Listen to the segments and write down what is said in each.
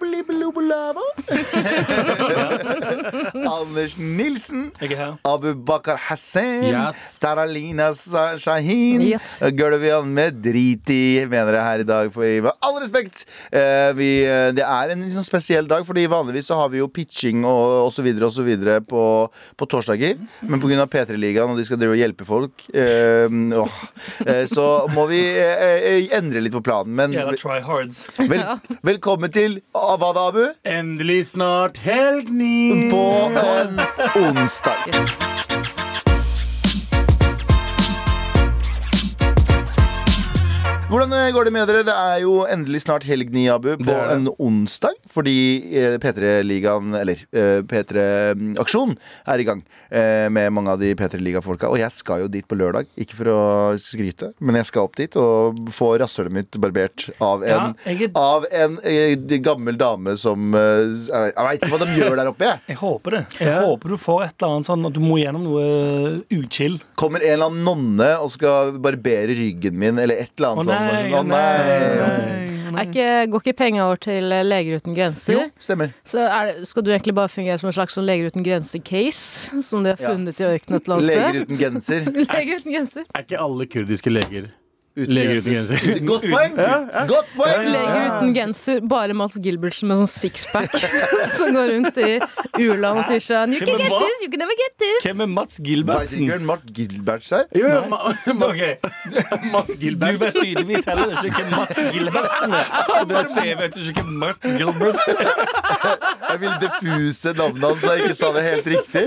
Blubblubblubblubblava. Anders Nilsen. Jeg er her. Abu Bakar Hussein. Yes. Taralina Sa- Shahin. Yes. Gulvian med drit i, mener jeg her i dag. For med all respekt! eh, vi, eh, det er en litt sånn spesiell dag, Fordi vanligvis så har vi jo pitching og osv. videre på, på torsdager. Men pga. P3-ligaen og de skal drive og hjelpe folk, eh, åh, eh, så må vi eh, eh, endre litt på planen. Men Jævla tryhards. vel, velkommen til Avada Abu. Endelig snart helg ni. på en onsdag. Hvordan eh, går det med dere? Det er jo endelig snart helg, ni, Abu, på Det er det. en onsdag. Fordi eh, P3-ligaen, eller eh, P3-aksjon, er i gang eh, med mange av de P3-ligafolka. Og jeg skal jo dit på lørdag. Ikke for å skryte, men jeg skal opp dit og få rasshølet mitt barbert av en Ja, jeg, er, av en eh, gammel dame som eh, Jeg veit ikke hva de gjør der oppe. jeg. jeg håper det. Jeg håper du får et eller annet sånn at du må gjennom noe eh, uchill. Kommer en eller annen nonne og skal barbere ryggen min eller et eller Å annet sånt. nei, å nei, å nei. Er ikke, går ikke penga over til eh, Leger uten Jo, grenser? stemmer. Så er det, skal du egentlig bare fungere som en slags sånn Leger uten grenser-case? Som de har Ja. funnet i ørkenen et eller Leger annet uten genser. sted? Leger uten grenser. Er ikke alle kurdiske leger leger uten grenser? Godt poeng! Godt poeng! Ja, Leger ja. uten genser, bare Mads Gilbertsen med sånn sixpack som går rundt i u-land og sier sånn You can Men get hva? this, you can never get this! Hvem er Mats Vet Gilbertsen? ikke hvem Mart Gilberts er. Jo, jo, Nei. ma- ma- Ok, Du Matt vet Gilbert. tydeligvis heller ikke hvem Mats Gilbertsen er. Og da sier jeg vet du ikke hvem Mats Gilbert er. Jeg ville diffuse navnet hans, så jeg ikke sa det helt riktig.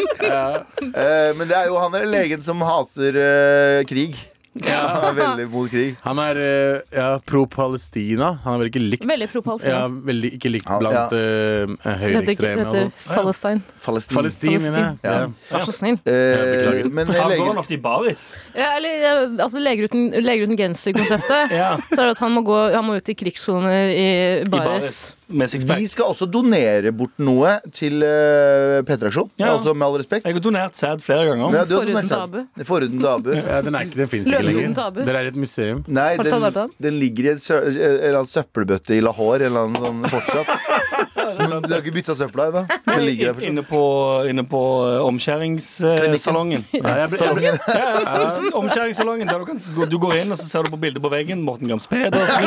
Eh, men det er jo han er legen som hater eh, krig. Han er veldig mot krig. Han er eh, ja, pro-Palestina. Han er vel ikke likt Veldig pro-palestin. Ja, veldig ikke likt Han- blant ja. eh, Dette høyreekstreme og heter sånn. Falestein. Palestin. Palestin, Palestin. mener jeg. Ja. Vær så snill. Eh, Ja, beklager. men Han går legen han ofte i baris. Ja, eller, eh, altså Leger uten, leger uten genser-konseptet. Ja. Så er det at han må, gå, han må ut i krigssoner i I bares. baris. Med Vi sixpack. skal også donere bort noe til uh, P3aksjon. Ja. Altså med all respekt. Jeg har donert sæd flere ganger. Ja, du har Foruten donert selv. Foruten til Abu. Ja, den er ikke, den fins ikke Løven lenger. uten tabu. Dere er et museum. Nei, Har du tatt den, den? den ligger i en, sø, en eller annen søppelbøtte i Lahore eller noe sånt fortsatt. Så du har ikke bytta søpla ennå? Den ligger der fortsatt. Inne på, inne på eh, omskjæringssalongen. Nei, jeg ble, jeg ble, Ja, ja, Omskjæringssalongen der du, kan, gå- du går inn og så ser du på bildet på veggen. Morten Gams Pedersen.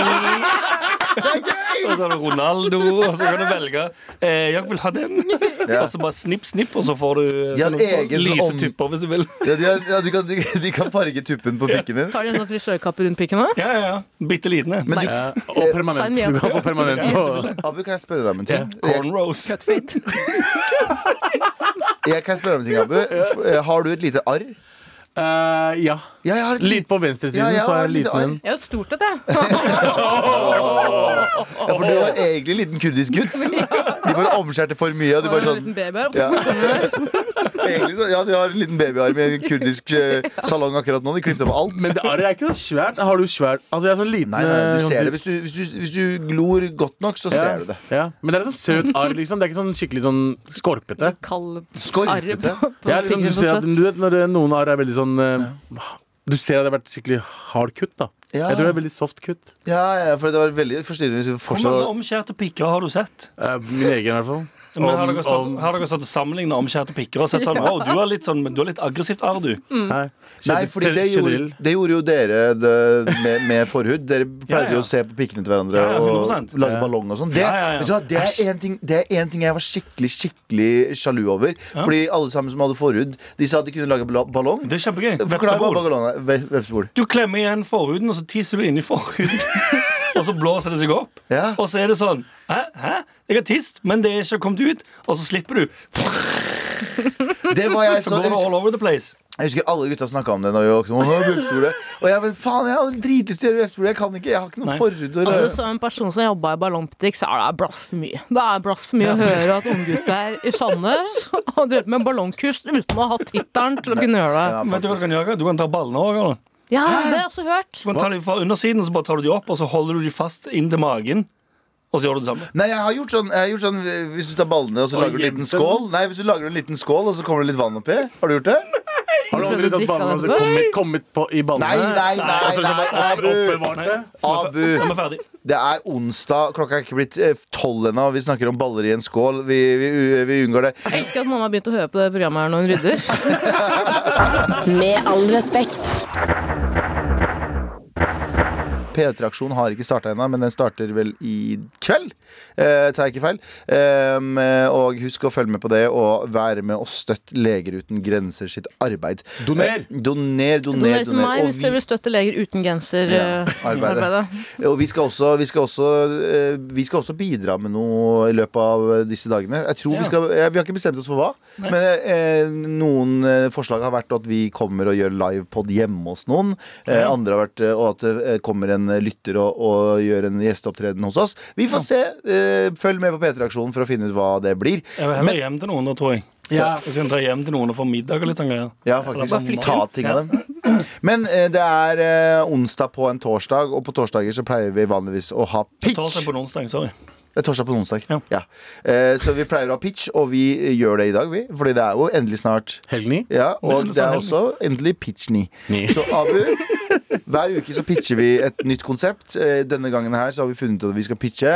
Og så er det Ronaldo, og så kan du velge. Eh, jeg vil ha den. Ja. Og så bare snipp, snipp, og så får du eh, De har en sånn egen sånn lyse om- tupper hvis du vil. Ja, de, har- ja, du kan, du, de kan farge tuppen på pikken din. Tar de en sånn frisørkappe rundt pikken òg? Ja, ja, ja. Bitte liten en. Men du, Nice. ja, og permanent. Sign me Du up. kan få permanent på Abu, kan jeg spørre deg om en ting? Jeg, Cornrows. jeg kan spørre deg om en ting, Abu. F- eh, Har du et lite arr? Eh, Ja. Ja, jeg har et Litt lite på venstresiden, Ja, jeg så har er jeg litt liten en. Jeg har et stort et, jeg. ja, For du var egentlig en liten kurdisk gutt. De bare omskjærte for mye, og du Og bare en sånn liten baby her. ja. Egentlig så, ja, de har en liten babyarm i en kurdisk eh, salong akkurat nå. De klippet opp alt. Men det arret er ikke så svært. Har du svært Altså, jeg er sånn liten Nei, nei, du eh, ser det. Hvis du, hvis, du, hvis du glor godt nok, så ser du det. Ja. Men det er en sånn søt arr, liksom. Det er ikke sånn skikkelig sånn skorpete. Kald arr Skorpete. på, på Ja, liksom, du fingeren. så ser at, søtt. du vet når eh, noen arr er veldig sånn eh, Du ser at det har vært skikkelig hard kutt, da. Ja. Jeg tror det er veldig soft kutt. Ja, ja, for det var veldig forstyrrende hvis vi Hvor mange fortsatt omskjærte pikker har du sett? Eh, min egen, i hvert fall. Men har Om- dere stått, om- har dere stått og sammenlignet omskjærte pikker og sett sånn Wow, du har litt, sånn, du har litt aggressivt arr, du. Mm. Mm. Nei, Nei, fordi det gjorde, generell. det gjorde jo dere det, med, med forhud. Dere pleide Ja, jo ja. å se på pikkene til hverandre Ja, ja, og 100%. lage Ja. ballong og sånn. Det, Ja, ja, ja. vet du hva, det er en ting, det er en ting jeg var skikkelig skikkelig sjalu over. Fordi alle sammen som hadde forhud, de sa at de kunne lage bla- ballong. Det er kjempegøy. Forklar hva Vepsebol. ballong er. Ve- Vepsebol. Du klemmer igjen forhuden, og så tisser du inni forhuden. og så blåser det seg opp. Ja. Og så er det sånn Hæ? Hæ? Jeg har tist, men det er ikke kommet ut. Og så slipper du. Det var jeg Så så går det all over the place. Jeg husker alle gutta snakka om det da vi var voksne. Åh, vepsebol. Og jeg bare faen, jeg har dritlyst til å gjøre vepsebol. Jeg kan ikke, jeg har ikke noe Nei. forhud. å Altså, røre. som en person som jobba i ballongbutikk, så er det blasfemi. Det er blasfemi å høre at unggutter i Sandnes har drevet med ballongkurs uten å ha tittelen til å kunne gjøre det. Ja, Vet du hva du kan gjøre? Du kan ta ballene òg. eller? Ja, det har jeg også hørt. Du kan ta dem fra undersiden, og så bare tar du dem opp, og så holder du dem fast inn til magen. Og så gjør du det samme. Nei, jeg har gjort sånn, jeg har gjort sånn eh, Hvis du tar ballene og så Og lager du en liten gjemmer skål Nei, hvis du lager en liten skål og så kommer det litt vann oppi Har du gjort det? Har du aldri Prøvde å tatt drikke ballene av og så etterpå. kommet, kommet på, i ballene? Nei, nei, nei, Og så liksom nei, bare opp- Abu. oppbevart Nei. det? Nå er Abu, vi ferdig. det er onsdag Klokka er ikke blitt eh, tolv ennå og Vi snakker om baller i en skål Vi, vi, vi unngår det Jeg elsker at mamma har begynt å høre på det programmet her når hun rydder. Med all respekt. P3-aksjonen har ikke starta ennå, men den starter vel i kveld. Eh, tar jeg ikke feil. Ehm, eh, og husk å følge med på det, og være med og støtt Leger uten grenser sitt arbeid. Doner. Eh, doner, doner, Doner til doner. meg Og liksom, hvis dere vi, vil støtte leger uten eh, Ja, arbeidet. genser-arbeidet. og vi skal også, vi skal også, eh, vi skal også bidra med noe i løpet av disse dagene. Jeg tror Ja. Vi skal, eh, vi har ikke bestemt oss for hva, men eh, noen eh, forslag har vært at vi kommer og gjør livepod hjemme hos noen. Eh, Ja. andre har vært, eh, og at det eh, kommer en eh, lytter og, og gjør en gjesteopptreden hos oss. Vi får se. Eh, følg med på P3-aksjonen for å finne ut hva det blir. Jeg vil heller hjem til noen, da, tror jeg. Ja. Jeg skal ta hjem til noen og få middag og litt sånn greier. Ja, Eller faktisk. bare Ta ting av dem. Men eh, det er eh, onsdag på en torsdag, og på torsdager så pleier vi vanligvis å ha Ta pitch. seg på en onsdag, sorry. Det er torsdag på en onsdag. Ja. Ja. Eh, så vi pleier å ha pitch, og vi eh, gjør det i dag, vi. Fordi det er jo endelig snart. Helg ni. Ja, og Men det er sånn også endelig pitch ni. Ni. Så Abu, hver uke så pitcher vi et nytt konsept. Eh, Denne gangen her så har vi funnet ut at vi skal pitche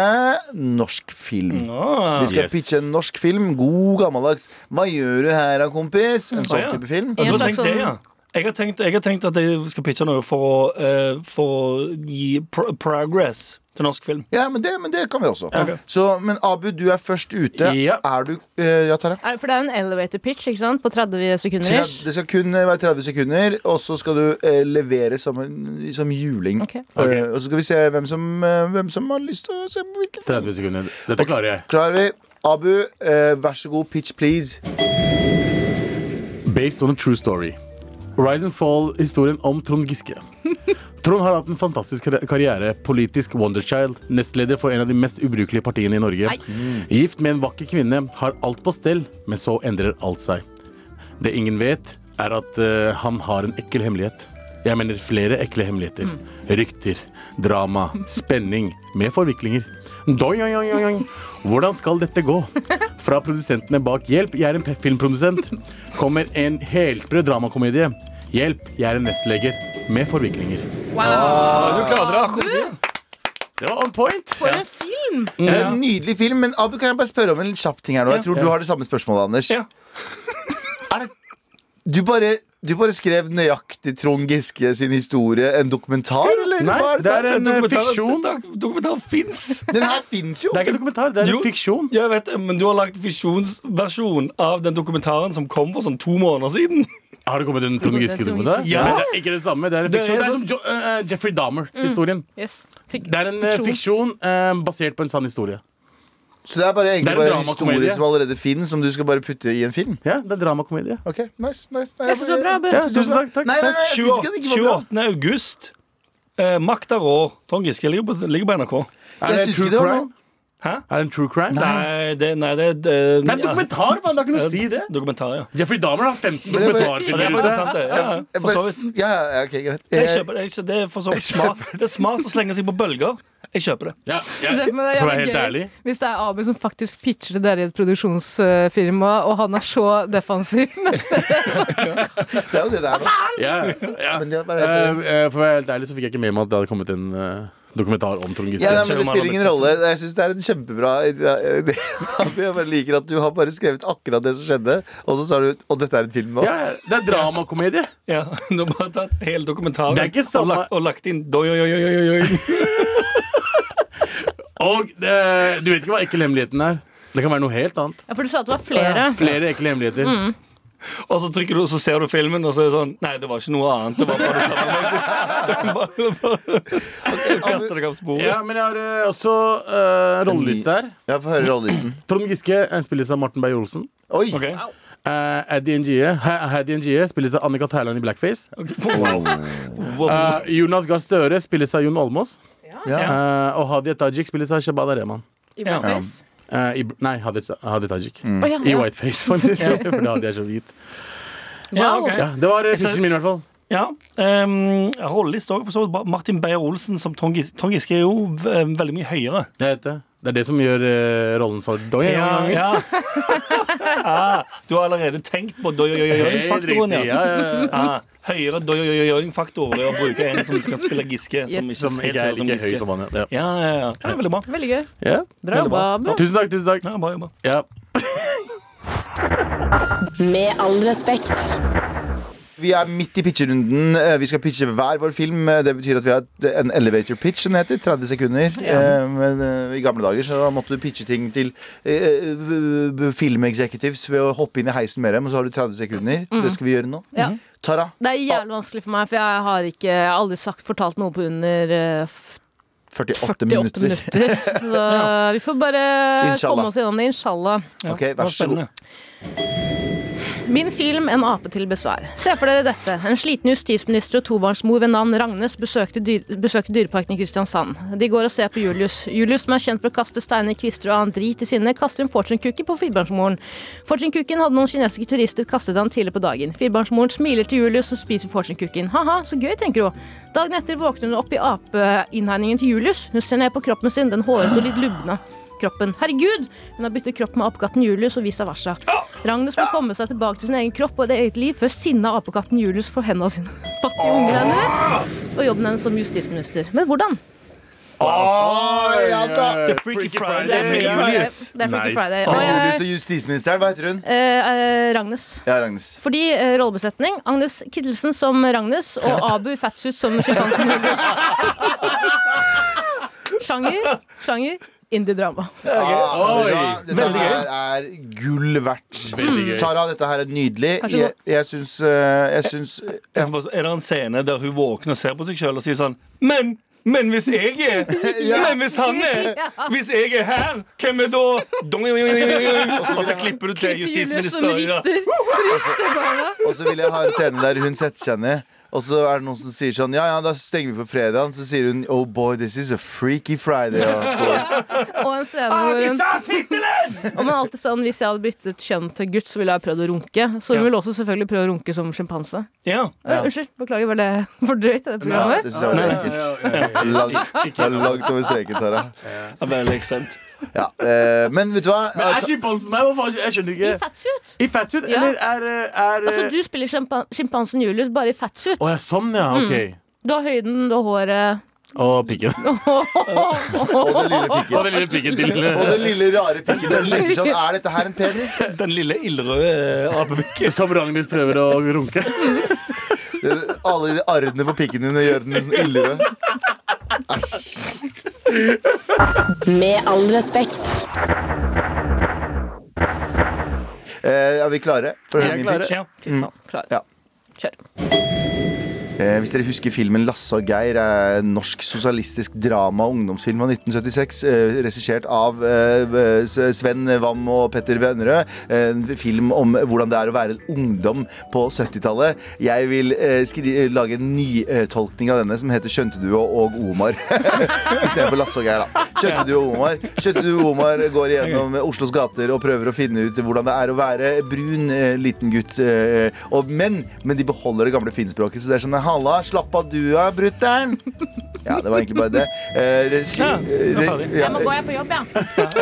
norsk film. Ah, Vi skal Yes. pitche en norsk film. God, gammeldags. Hva gjør du her da, kompis? En Å, sånn ja. type film. du En har slags tenkt det, ja. sånn- Jeg har, tenkt, jeg har tenkt at jeg skal pitche noe for å, eh, for å gi pro progress til norsk film. Ja, men det, men det kan vi også. Ok. Så, men Abu, du er først ute. Ja. Er du eh, Ja, Tara? Er- For det er jo en elevator pitch ikke sant? på 30 sekunder. 30, ish. det skal kun eh, være 30 sekunder, og så skal du eh, levere som, en- som juling. Ok. Ok. Eh, og så skal vi se hvem som, eh, hvem som har lyst til å se på hvilken 30 sekunder. Dette klarer jeg. Klarer vi? Abu, eh, vær så god, pitch please. Based on a true story. Rise and Fall-historien om Trond Giske. Trond har hatt en fantastisk kar- karriere. Politisk wonderchild, nestleder for en av de mest ubrukelige partiene i Norge. Nei. Gift med en vakker kvinne, har alt på stell, men så endrer alt seg. Det ingen vet, er at eh, han har en ekkel hemmelighet. Jeg mener flere ekle hemmeligheter. Rykter, drama, spenning, med forviklinger. Doing, doing, doing, doing. Hvordan skal dette gå? Fra produsentene bak Hjelp, jeg er en filmprodusent, kommer en helsprø dramakomedie. Hjelp, jeg er en nestleger, med forviklinger. Wow, Ah. Du klarte det akkurat. ja. Det var on point! for en film! Det er Ja. En nydelig film, men Abu, kan jeg bare spørre om en kjapp ting her nå? Jeg tror Ja. du har det samme spørsmålet, Anders. Ja. Er det, du, bare, du bare skrev nøyaktig Trond Giske sin historie, en dokumentar, eller? Nei, Hva det er Det er en eh, dokumentar- fiksjon. det er- Dokumentar fins. Den her fins jo! Det er ikke en dokumentar, det er Jo. en fiksjon. Jeg vet, det, men du har lagt fiksjonsversjon av den dokumentaren som kom for sånn to måneder siden. Har det kommet en Trond Giske-dokumentar? Ja. Nei, det er ikke det samme. Det er en Det er fiksjon. Mm. Det er sånn- som jo, eh, Jeffrey Dahmer-historien. Yes. Fikk- Det er en eh, fiksjon eh, basert på en sann historie. Så det er bare, egentlig Det er en bare en historie dramakomedie. som allerede finnes, som du skal bare putte i en film? Ja, det er dramakomedie. Ok, nice, nice. Nei, Jeg synes det var bra. Abu. Ja, tusen takk. takk. Nei, nei, nei, jeg synes ikke det ikke var bra. 28. august. Eh, Makta rår. Trond Giske ligger på, ligger på NRK. Er Jeg det synes true ikke det var crime? noe. Hæ? Er det en true crime? Nei, det, nei, det, det- Det er en ja. dokumentar, mann! Det er ikke noe å si det. Dokumentar, ja. Jeffrey Dahmer har 15 Men det er bare- Ja, det er faktisk dokumentarfilmer ute. sant, det. Ja, ja, Jeg for så bare- vidt. Ja, ja, ok, greit. Jeg Eh, kjøper det. Jeg kjøper, det, er for så vidt smart. det er smart å slenge seg på bølger. Jeg kjøper det. Ja, ja. Se for meg, det er For å være jævlig helt gøy ærlig. Hvis det er Abu som faktisk pitcher det der i et produksjonsfirma, og han er så defensiv mens det Det er jo det det er nå. Ja, ja. Men det er Eh, bare helt- eh, for å være helt ærlig så fikk jeg ikke med meg at det hadde kommet en eh, dokumentar om Trond Giske. ja, nei, men Selv Det om spiller han har ingen blitt rolle. Jeg syns det er en kjempebra idé. Jeg bare liker at du har bare skrevet akkurat det som skjedde, og så sa du Og dette er en film nå? ja, ja, det er dramakomedie. Ja, Du har bare tatt hele dokumentaren Det er ikke og, samme- lagt, og lagt inn doi, oi, oi, oi, oi. Og eh, du vet ikke hva ekkel hemmeligheten er. Det kan være noe helt annet. Ja, for du sa at det var flere. Flere ekle hemmeligheter. Mm. Og så trykker du, og så ser du filmen, og så er det sånn Nei, det var ikke noe annet. Det var bare det samme. Bare- bare- Du kaster deg av sporet. Ja, men jeg har eh, også uh, rolleliste her. Ja, Få høre rollelisten. Trond Giske eh, spilles av Martin Beyer-Olsen. Oi! Ok. Uh, Eddie NGE ha- Haddy NGE E spilles av Annika Tærland i blackface. Ok. Wow. Wow. Eh, Jonas Gahr Støre spilles av Jon Almaas. Ja. Eh, og Hadia Tajik spilles av Shabana Rehman. I Ja. blackface. Eh, i, bl- nei, Hadia, Hadia Tajik. Å, ja, I ja. whiteface, faktisk. For da hadde jeg så hvit. Ja, ok. Ja, det var eh, ser- pitchen min, i hvert fall. Ja. Um, Rolleliste òg, for så vidt. Martin Beyer-Olsen som Trond Gis- Trond Giske er jo eh, veldig mye høyere. Jeg heter Det er det som gjør eh, rollen så doi, doi, Ja, doi. ja. ah, du har allerede tenkt på dojojojojing-faktoren, Helt riktig, ja, ja, ja. Ah, høyere dojojojojing-faktor ved å bruke en som skal spille Giske. Som ikke, Som ikke er helt like høy som han. Ja. Ja, ja, ja. ja veldig bra. Veldig gøy. Ja. Veldig bra. Bra jobba. Abu. Tusen takk, tusen takk. Ja, bra jobba. Ja. Med all respekt. Vi er midt i pitcherunden. Eh, Vi skal pitche hver vår film. Eh, Det betyr at vi har et- en elevator pitch, som det heter. 30 sekunder. Eh, Men eh, i gamle dager så måtte du pitche ting til eh, b- b- filmexecutives ved å hoppe inn i heisen med dem, og så har du 30 sekunder. Det skal vi gjøre nå. Mhm. Ja. Tara, Det er jævlig vanskelig for meg, for jeg har ikke jeg har aldri sagt, fortalt noe på under eh, f- 48, 48 minutter. minutter. Så vi får bare Inshallah. komme oss gjennom det, inshallah. Ja, Ok, vær det var så god. spennende. Min film 'En ape til besvær'. Se for dere dette. En sliten justisminister og tobarnsmor ved navn Ragnes besøkte, dyr, besøkte Dyreparken i Kristiansand. De går og ser på Julius. Julius, som er kjent for å kaste steiner, kvister og annen drit i sinne, kaster en fortune-cookie på firbarnsmoren. Fortune-cookien hadde noen kinesiske turister kastet han tidlig på dagen. Firbarnsmoren smiler til Julius, som spiser fortune-cookien. Ha-ha, så gøy, tenker hun. Dagen etter våkner hun opp i apeinnhegningen til Julius. Hun ser ned på kroppen sin, den hårete og litt lubne kroppen. Herregud! Hun har byttet kropp med apekatten Julius og vice versa. Ragnes må komme seg tilbake til sin egen kropp og det eget liv før sinnet av apekatten Julius får hendene sine fatt i ungen hennes og jobben hennes som justisminister. Men hvordan? Å, ja da! The Freaky Friday. Det er Freaky Friday. Det er Freaky Nice. Friday. Og Julius jeg, og justisministeren, hva heter hun? eh, eh, Ragnes. Ja, Ragnes. Fordi eh, rollebesetning Agnes Kittelsen som Ragnes og Abu Fatsuit som sjimpansen Julius. Sjanger, sjanger indie-drama. Ah, Oi, bra. Dette veldig her er gull verdt. Veldig gøy. Tara, dette her er nydelig. Vær så god. Jeg, jeg syns eh, Jeg syns ja. Så bare- Er det en scene der hun våkner og ser på seg sjøl og sier sånn Men! Men hvis jeg er Men hvis han er Hvis jeg er her, hvem er da? Dong, dong, dong, dong, dong. Og så klipper du til Julius som justisminister. Ja. rister, rister barna. Og så vil jeg ha en scene der hun setter seg ned og så er det noen som sier sånn Ja, ja, da stenger vi for fredagen. Så sier hun Oh boy, this is a freaky Friday. Og- Og en scene hvor hun Og man er alltid sånn, Hvis jeg hadde byttet kjønn til gutt, så ville jeg prøvd å runke. Så hun Ja. vil også selvfølgelig prøve å runke som sjimpanse. Ja. Ja. Unnskyld, beklager, var det for drøyt? i Det programmet Det syns jeg var litt ekkelt. Langt, det er langt over streken, Tara. Ja, Veldig ekstremt. Ja, eh, men vet du hva? Er sjimpansen her? Hva faen? Jeg skjønner I ikke. fatsuit! I fatsuit, Ja. eller er, er Altså, du spiller sjimpa- sjimpansen Julius bare i fatsuit. Å ja, sånn, ja. Mm. Ok. Du har høyden, du har håret Og pikken. Og den lille pikken. Og den lille pikken til Og den lille rare pikken. Den tenker sånn Er dette her en penis? Den lille ildrøde eh, apepikken. Som Ragnhild prøver å runke. Det- Alle de arrene på pikken din gjør den sånn ildrød. Med all respekt. Eh, er vi klare for å høre min pitch? Ja. Fy faen, klar. Ja. Kjør. Eh, hvis dere husker filmen 'Lasse og Geir', eh, norsk sosialistisk drama og ungdomsfilm av 1976, eh, regissert av eh, S- Sven Wam og Petter Vennerød. Eh, En film om hvordan det er å være en ungdom på 70-tallet. Jeg vil eh, skri lage en nytolkning av denne som heter 'Skjønte du og- og Omar'. Istedenfor Lasse og Geir, da. Skjønte du og Omar? Skjønte du og Omar går gjennom Oslos gater og prøver å finne ut hvordan det er å være brun eh, liten gutt. eh, Og, men, men de beholder det gamle finspråket, så det er sånn Halla, slapp av du av, brutter'n. Ja, det var egentlig bare det. Eh, regi, Ja, det var ferdig. re- ja, Jeg må gå, jeg er på jobb, jeg.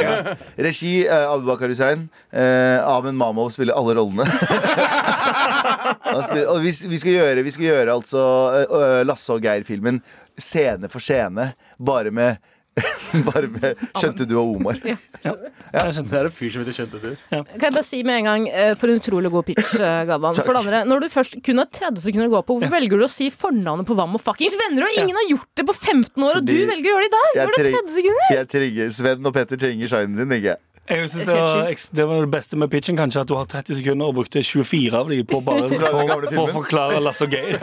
ja. Regi eh, Abubakar Hussein. Eh, Ahmed Mamov spiller alle rollene. Han spiller, og vi, s- vi skal gjøre, vi skal gjøre altså eh, eh, Lasse og Geir-filmen scene for scene, bare med bare med Skjønte du og Omar. Jeg skjønte. Det er en fyr som ikke skjønte det. Kan jeg bare si med en gang eh, for en utrolig god pitch, eh, Gavan. For det andre, når du først kun har 30 sekunder å gå på, hvorfor velger du å si fornavnet på Wam og fuckings venner? Og ingen har gjort det på 15 år, og Fordi du velger å gjøre det i dag! jeg Var det treng- 30 sekunder? Jeg trenger, Sven og Petter trenger shinen sin, tenker jeg. Jeg synes det, var, det var det beste med pitchen, kanskje at du har 30 sekunder og brukte 24 av dem på, bare, Forklare den gamle på, på å filmen. forklare Lasse og Geir.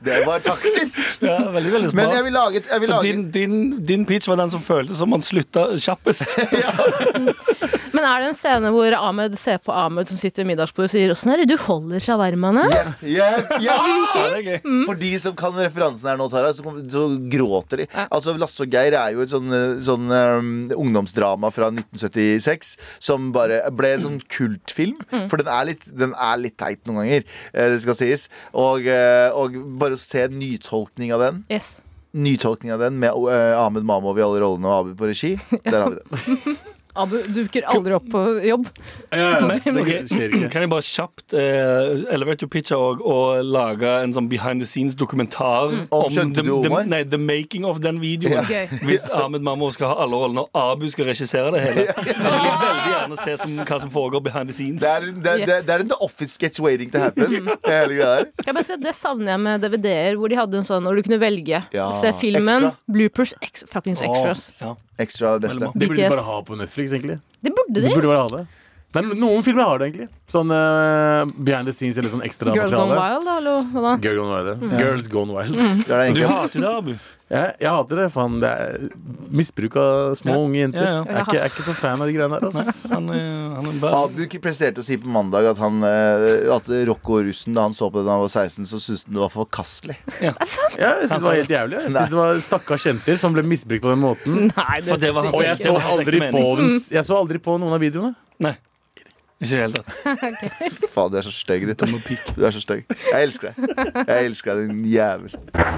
Det var taktisk! Ja, veldig, veldig Men smart. jeg vil lage et- jeg vil For lage- din, din, din pitch var den som føltes som han slutta kjappest. Men er det en scene hvor Ahmed ser på Ahmed som sitter ved middagsbordet og sier Åssen er det du holder shawarmaene? Yeah, yeah. Ja, det er gøy. For de som kan referansen her nå, Tara, så, kom- så gråter de. Altså, Lasse og Geir er jo et sånn, eh, sånn eh, ungdomsdrama fra 1976 som bare ble en sånn kultfilm. For den er, litt, den er litt teit noen ganger, eh, det skal sies. Og, eh, og bare å se en nytolkning av den Yes. nytolkning av den med eh, Ahmed Mamov i alle rollene og Abu på regi. Der har vi den. Abu duker aldri opp på jobb. Det Ok, Mm, skjer ikke. Kan jeg bare kjapt eh, elevate your picture og, og lage en sånn behind the scenes-dokumentar om skjønte the, du, Omar? the, nei, the making of den videoen? Gøy. Hvis Ahmed Mammo skal ha alle rollene og Abu skal regissere det hele. Så vil jeg veldig gjerne se som, hva som foregår behind the scenes. Det er, en- det, er- det, er- det er en The Office-sketch waiting to happen. Det hele greia der. Jeg bare sier, det savner jeg med DVD-er, hvor de hadde en sånn hvor du kunne velge. Ja, Se filmen, ekstra. bloopers, ex, fuckings Åh, extras. ja. Ekstra beste. Det burde de BTS. bare ha på Netflix, egentlig. Det burde Det de. burde bare ha det. Nei, men noen filmer har det, egentlig. Sånn eh, behind the scenes eller sånn ekstra Girl Gone materiale. Wild, da, eller hva da? Girl Gone Wild. ja. Girls Gone Wild. Det er det Du enkle. hater det, Abu. Jeg, jeg hater det. Faen, det er misbruk av små Ja. unge jenter. Ja, ja. Jeg, er ikke, jeg er ikke så fan av de greiene der. ass. Han, er- han er bare Abu presterte å si på mandag at, han, eh, at Rocco og russen, da han så på det da han var 16, så syntes han det var forkastelig. Ja, jeg synes det var helt jævlig. Jeg synes det var Stakkars jenter som ble misbrukt på den måten. Nei, For det var hans- Og jeg så Det var hans aldri ekte på, mening. den, jeg så aldri på noen av videoene. Nei. Ikke i det hele tatt. Faen, du er så stygg, du. Du er så stygg. Jeg elsker deg. Jeg elsker deg, din jævel.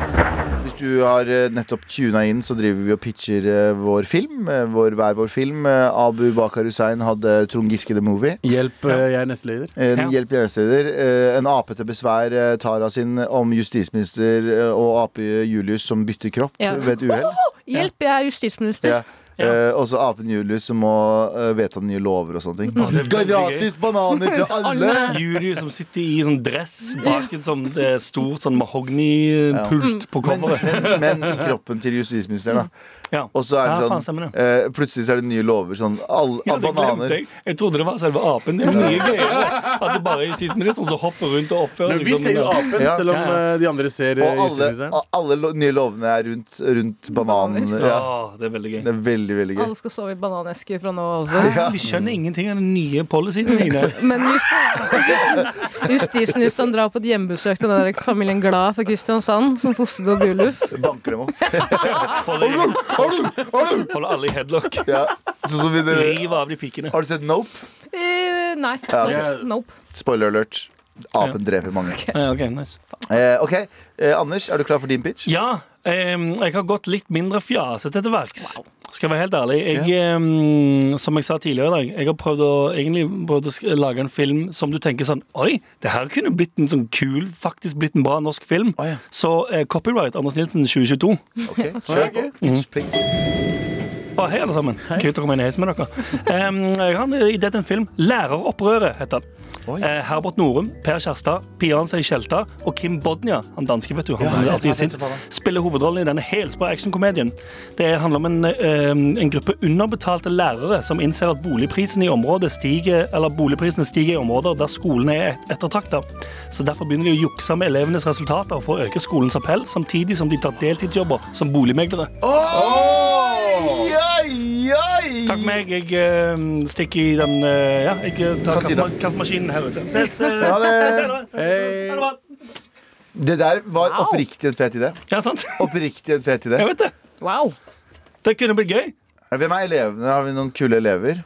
Hvis du har eh, nettopp tuna inn, så driver vi og pitcher eh, vår film. eh, Vår hver vår film. Eh, Abu Bakar Hussein hadde Trond Giske The Movie. Hjelp, eh, jeg er nestleder. En Ja. hjelp gjensteder. Eh, En ape til besvær, eh, Tara sin, om justisminister eh, og ape Julius som bytter kropp Ja. ved et uhell. Hjelp, jeg er justisminister. Ja. Eh, og så apen Julius som må eh, vedta nye lover og sånne ting. Ja, det er veldig gøy. Gratis bananer til alle! Julie som sitter i sånn dress bak et sånt eh, stort sånn mahognipult på Men, coveret. men, men i kroppen til justisministeren, da. Ja. Og så er Ja, det faen, sånn stemmer det. eh, Plutselig så er det nye lover. Sånn all, Ja, av det glemte bananer. jeg. Jeg trodde det var selve apen. Det er mye gøyere at det bare er justisministeren som hopper rundt og oppfører Men vi som ser jo en- apen, Ja. selv om Ja, ja. eh, de andre ser eh, Og alle, justisministeren. alle lo nye lovene er rundt, rundt bananen. Ja. Åh, det er veldig gøy. Det er veldig, veldig gøy. Alle skal sove i bananesker fra nå av også. Ja. Vi skjønner ingenting av den nye policyen dine. Men just, justisministeren drar på et hjemmebesøk til den der familien Glad fra Kristiansand, som fostret opp Julius. Banker dem opp. Holder, Har du, har du? holder alle i headlock. Ja. Sånn som i det- Riv av de pikene. Har du sett Nope? Eh, nei. Ja, ok. Nope. Spoiler alert. Apen dreper mange. Ja, ok, nice. Eh, ok, eh, Anders, er du klar for din pitch? Ja, em, jeg har gått litt mindre fjasete til verks. Skal jeg være helt ærlig. Jeg, em, som jeg sa tidligere i dag, jeg har prøvd å, egentlig prøvd å sk- lage en film som du tenker sånn Oi, det her kunne blitt en sånn kul, faktisk blitt en bra norsk film. Å, ja. Så eh, copyright Anders Nilsen 2022. Ok, Kjør på. Pitch, please. Å, hei, alle sammen. Kult å komme inn i heisen med dere. Um, han er i dette en film. 'Læreropprøret' heter den. Oi. Eh, Herbert Norum, Per Kjærstad, Pian Sei Skjelta og Kim Bodnia, han danske, vet du, han Ja, som jeg alltid er vet sint, det, faen. spiller hovedrollen i denne helsprø actionkomedien. Det handler om en, eh, en gruppe underbetalte lærere som innser at boligprisen i området stiger, eller boligprisene stiger i områder der skolene er et- ettertraktet. Så derfor begynner de å jukse med elevenes resultater for å øke skolens appell, samtidig som de tar deltidsjobber som boligmeglere. Oi, oi, oi. Takk meg. Jeg eh, stikker i den eh, Ja, jeg eh, tar Kantina. kaffema- kaffemaskinen her ute. Ses eh, Ha det. senere. Hei. Ha det bra. Det der var Wow. oppriktig en fet idé. Ja, sant? Oppriktig en fet idé. Jeg vet det. Wow. Det kunne blitt gøy. Hvem er elevene? Har vi noen kule elever?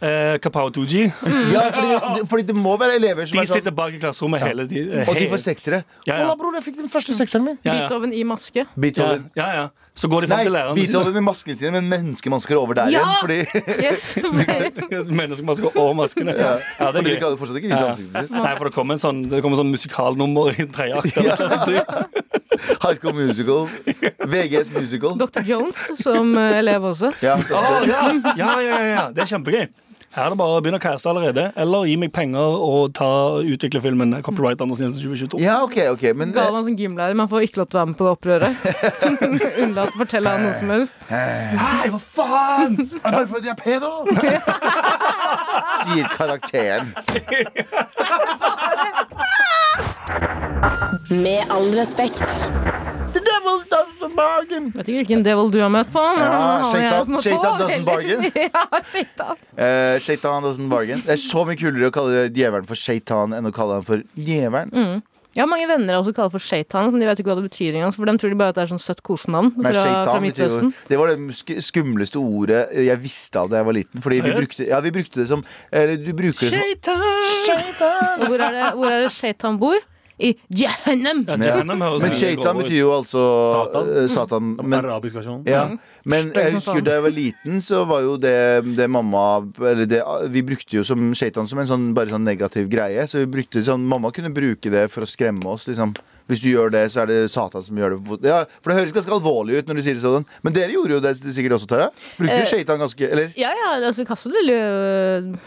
Eh, Kapao Tooji. Ja, fordi, fordi det må være elever som De er sånn sitter bak i klasserommet hele tiden. Og de får seksere. Ja, ja. Ola, bror, jeg fikk den første sekseren min. Ja, ja. Beethoven i maske. Ja, Beethoven. ja, ja. Så går de fram Nei, til læreren Beethoven med maskene sine, men menneskemasker over der Ja! igjen. Fordi Yes. Veldig- Menneskemasker og maskene. Ja, det fordi de er gøy. kan jo fortsatt ikke vise Ja. ansiktet sitt. Nei, for det kommer en sånn, det kommer en sånn musikalnummer i tredje akt. eller noe sånt dritt. High School Musical. VGS Musical. Dr. Jones som eh, elev også. Ja, det er Å, ja. Ja, ja, ja, ja. Det er kjempegøy. Her er det bare å begynne å caste allerede. Eller gi meg penger og ta, utvikle filmen. Copyright Anders Nilsen 2022. Ja, ok, ok, men Ga han som gymlærer, men får ikke lov til å være med på det opprøret. Unnlat å fortelle han noe som helst. Nei, hva faen! eh, Bare fordi jeg er pedo! Sier karakteren. Med all respekt. The devil doesn't bargain. Vet ikke hvilken devil du har møtt på. Men Ja, han har jeg Shaitan- møtt på, Shaitan doesn't veldig. bargain. Ja, Shaitan. Eh, Shaitan doesn't bargain. Det er så mye kulere å kalle djevelen for Shaitan enn å kalle han for djevelen. Mm, Jeg har mange venner jeg også kaller for Shaitan, men de vet ikke hva det betyr engang. så For dem tror de bare at det er sånn søtt kosenavn Men fra, fra Shaitan betyr jo Midtøsten. Det var det sk- skumleste ordet jeg visste av da jeg var liten. Fordi vi Seriøst? brukte, ja, vi brukte det som Eller du bruker det som Shaitan! Og hvor er det, hvor er det Shaitan bor? i Jahannam. Ja, Jahannam høres Men veldig Shaitan grov ut. betyr jo altså Satan. eh, Satan. Men, Arabisk versjon. ja. men Mm. Det er jeg ikke sånn. husker sant. da jeg var liten, så var jo det, det mamma Eller det, vi brukte jo som Shaitan som en sånn, bare sånn negativ greie. Så vi brukte sånn Mamma kunne bruke det for å skremme oss, liksom. Hvis du gjør det, så er det Satan som gjør det. Ja, for det høres ganske alvorlig ut når du sier det sånn. Men dere gjorde jo det sikkert også, Tara. Brukte Eh, jo Shaitan ganske Eller Ja, ja, altså kastet det lø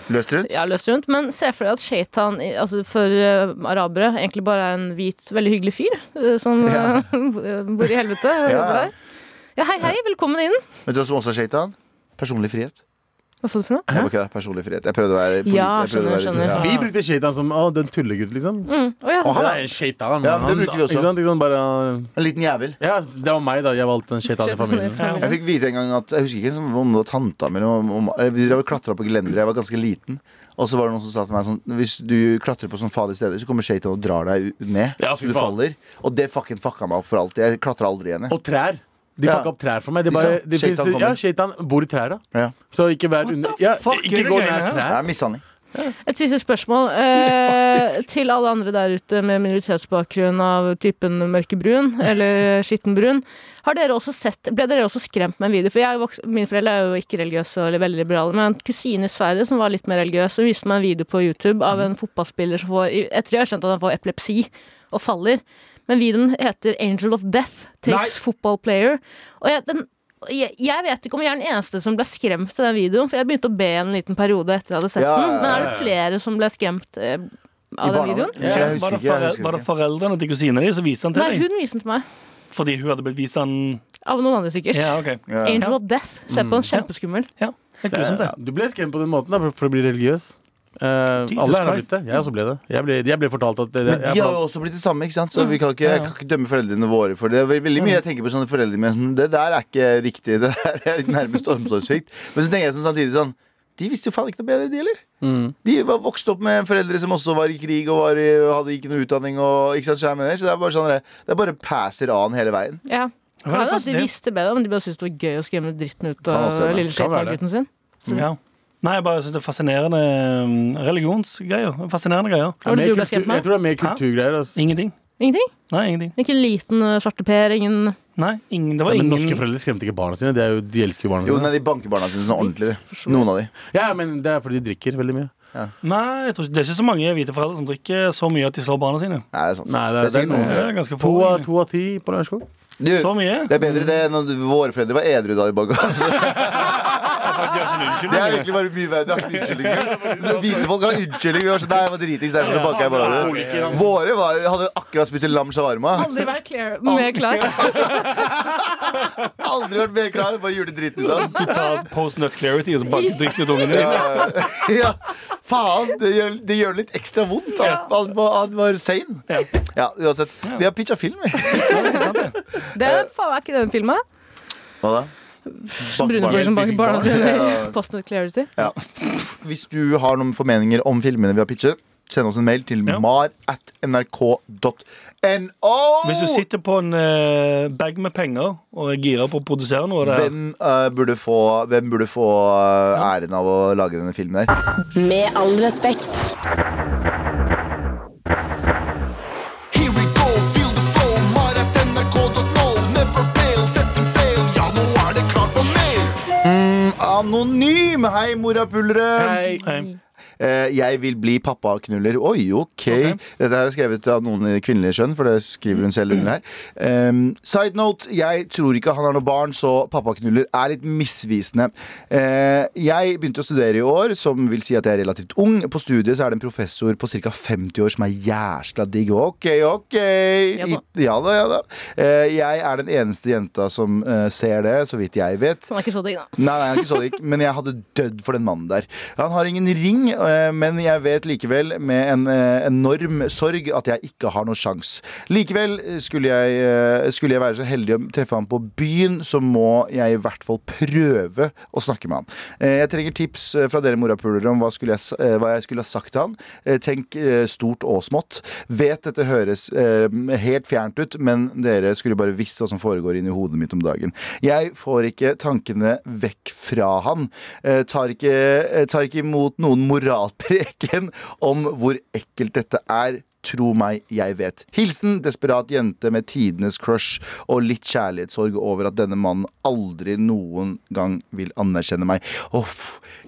løst rundt? ja, løst rundt, men se for deg at Shaitan i- altså for eh, arabere egentlig bare er en hvit, veldig hyggelig fyr eh, som Ja. eh, bor i helvete. og Ja. jobber der. ja, hei, hei, velkommen inn. Vet du hva som også er Shaitan? Personlig frihet. Hva sa du for noe? Det var ikke det, personlig frihet. Jeg prøvde å være polit- Ja, jeg prøvde å skjønner, være- skjønner. Ja. Vi brukte shaitan som å, den tullegutt, liksom. Mm. Å ja. Og han er en shaitan. Ja, men det han- bruker vi også. Ikke sant? Ikke sant? Bare, En liten jævel. ja, det var meg, da. Jeg valgte en shaitan i familien. Ja. Jeg fikk vite en gang at Jeg husker ikke som om det var tanta mi eller om- om- eller Vi drev klatra på gelenderet, jeg var ganske liten. Og så var det noen som sa til meg sånn Hvis du klatrer på sånne farlige steder, så kommer Shaitan og drar deg u- ned. Ja, så du fy faen. faller. Og det fucking fucka meg opp for alltid. Jeg klatra aldri igjen. jeg. Og trær. De Ja. fucka opp trær for meg. De De bare, sa, de «Shaitan finnes, kommer». ja, Shaitan bor i trærne. Ja. Så ikke vær under ja, fuck er Ikke det gå greiene nær her? Det trær. er mishandling. Et siste spørsmål eh, til alle andre der ute med minoritetsbakgrunn av typen mørkebrun eller skittenbrun. Har dere også sett, ble dere også skremt med en video? For jeg, er voks- Mine foreldre er jo ikke religiøse eller veldig liberale, men en kusine i Sverige som var litt mer religiøs, hun viste meg en video på YouTube av en fotballspiller som får Etter jeg har skjønt at han får epilepsi og faller. Men videoen heter 'Angel of Death Takes Football Player'. Og jeg, den, jeg, jeg vet ikke om jeg er den eneste som ble skremt i den videoen, for jeg begynte å be en liten periode etter jeg hadde sett Ja, ja, den. Men ja, er det flere som ble skremt eh, av den videoen? Ja, jeg var, husker det ikke. Jeg fore, husker var det ikke. foreldrene til kusina di som viste han til Nei, deg? hun viste den til meg. Fordi hun hadde blitt vist han Av noen andre, sikkert. Ja, OK. Ja. Angel of Death. Se på den, kjempeskummel. Ja, Helt grusomt, Ja, det. du ble skremt på den måten da, for å bli religiøs. Eh, alle her har Christ. blitt det. Jeg også ble det. Jeg ble, jeg ble fortalt at det, Men jeg, de har jo også blitt det samme, ikke sant? så vi kan ikke, jeg kan ikke dømme foreldrene våre for det. Det er veldig mye jeg tenker på sånne foreldre mine som Det der er ikke riktig. Det der er nærmest omsorgssvikt. Men så tenker jeg sånn samtidig sånn De visste jo faen ikke noe bedre, de, eller? Mm. De var vokst opp med foreldre som også var i krig og var i, hadde ikke noe utdanning. Og, ikke sant, så, jeg mener, så det er bare sånn det, det er bare passer an hele veien. Ja. Hva er det Ja, for- de det- visste bedre, men de bare syntes det var gøy å skremme dritten ut Kan av også hende. lille Kan være det. skittengutten sin. Ja. Nei, jeg bare synes det er fascinerende um, religionsgreier. Fascinerende greier. Hva var det mer du ble kultur- skremt med? Jeg tror det er mer Hæ? kulturgreier. Altså. Ingenting. Ingenting? Nei, ingenting. Ikke en liten eh, svarte per? Ingen Nei, ingen, det Ja, var men ingen norske foreldre skremte ikke barna sine. De, er jo, de elsker jo barna Jo, sine. nei, de banker barna sine sånn ordentlig. de. Noen av de. Ja, men Det er fordi de drikker veldig mye. Nei, jeg tror ikke. Det er ikke så mange hvite foreldre som drikker så mye at de slår barna sine. Nei, det er sant. Nei, det er- det er sikkert noen noen- Det foreldre. er ganske To få. av, egentlig. to av ti på Lørenskog. Så Du, mye? det er bedre det enn at våre foreldre var edru da vi banka. Det er egentlig bare mye verre. Det har ikke unnskyldning engang. Hvite folk har unnskyldning. Vi var sånn, nei, jeg var dritings, derfor Ah, så banka jeg barna. Våre var, hadde akkurat spist en lam shawarma. Aldri vært clear, mer klar. Aldri vært mer klar. Bare gjorde driten ut av oss. Totalt post nut clarity, og så bare drikker du ungen din. Ja, faen. Det gjør, det gjør litt ekstra vondt. da. Han var, han var sane. Ja. Ja, uansett. Vi har pitcha film, vi. Det er faen meg ikke den filmen. Hva da? Banke Brune folk barna. liksom- som banker barna sine i Ja. Postnet Clarity. Hvis du har noen formeninger om filmene vi har pitchet, send oss en mail til Ja. mar at nrk.no Hvis du sitter på en eh, bag med penger og er gira på å produsere noe det er- Hvem eh, burde få, hvem burde få eh, æren av å lage denne filmen her? Med all respekt. Here we go, feel the flow, mar at nrk.no. Never fail, setting sail, ja nå er det klart for mer. Mm, Anonym! Hei, morapulere! Hei. Nei. Eh, jeg vil bli pappaknuller. Oi, ok. Dette her er skrevet av noen i kvinnelig skjønn, for det skriver hun selv under her. Um, side note, jeg tror ikke han har noe barn, så pappaknuller er litt misvisende. Eh, jeg begynte å studere i år, som vil si at jeg er relativt ung. På studiet så er det en professor på ca. 50 år som er jæsla digg. Ok, ok. Ja I, da. ja da, ja da. Eh, jeg er den eneste jenta som eh, ser det, så vidt jeg vet. Så han er ikke så digg, da. Nei, nei, jeg er ikke så rik, men jeg hadde dødd for den mannen der. Han har ingen ring, eh, men jeg vet likevel med en eh, enorm sorg at jeg ikke har noe sjans. Likevel eh, skulle jeg, eh, skulle jeg være så heldig å treffe ham på byen, så må jeg i hvert fall prøve å snakke med han. Eh, Jeg trenger tips eh, fra dere morapulere om hva, skulle jeg, s- eh, hva jeg skulle ha sagt til han. Eh, Tenk eh, stort og smått. Vet dette høres eh, helt fjernt ut, men dere skulle bare visst hva som foregår inni hodet mitt om dagen. Jeg får ikke tankene vekk fra han. Eh, tar, ikke, eh, tar ikke imot noen moralpreken om hvor ekkelt dette er. Tro meg, jeg vet. Hilsen desperat jente med tidenes crush og litt kjærlighetssorg over at denne mannen aldri noen gang vil anerkjenne meg. Oh,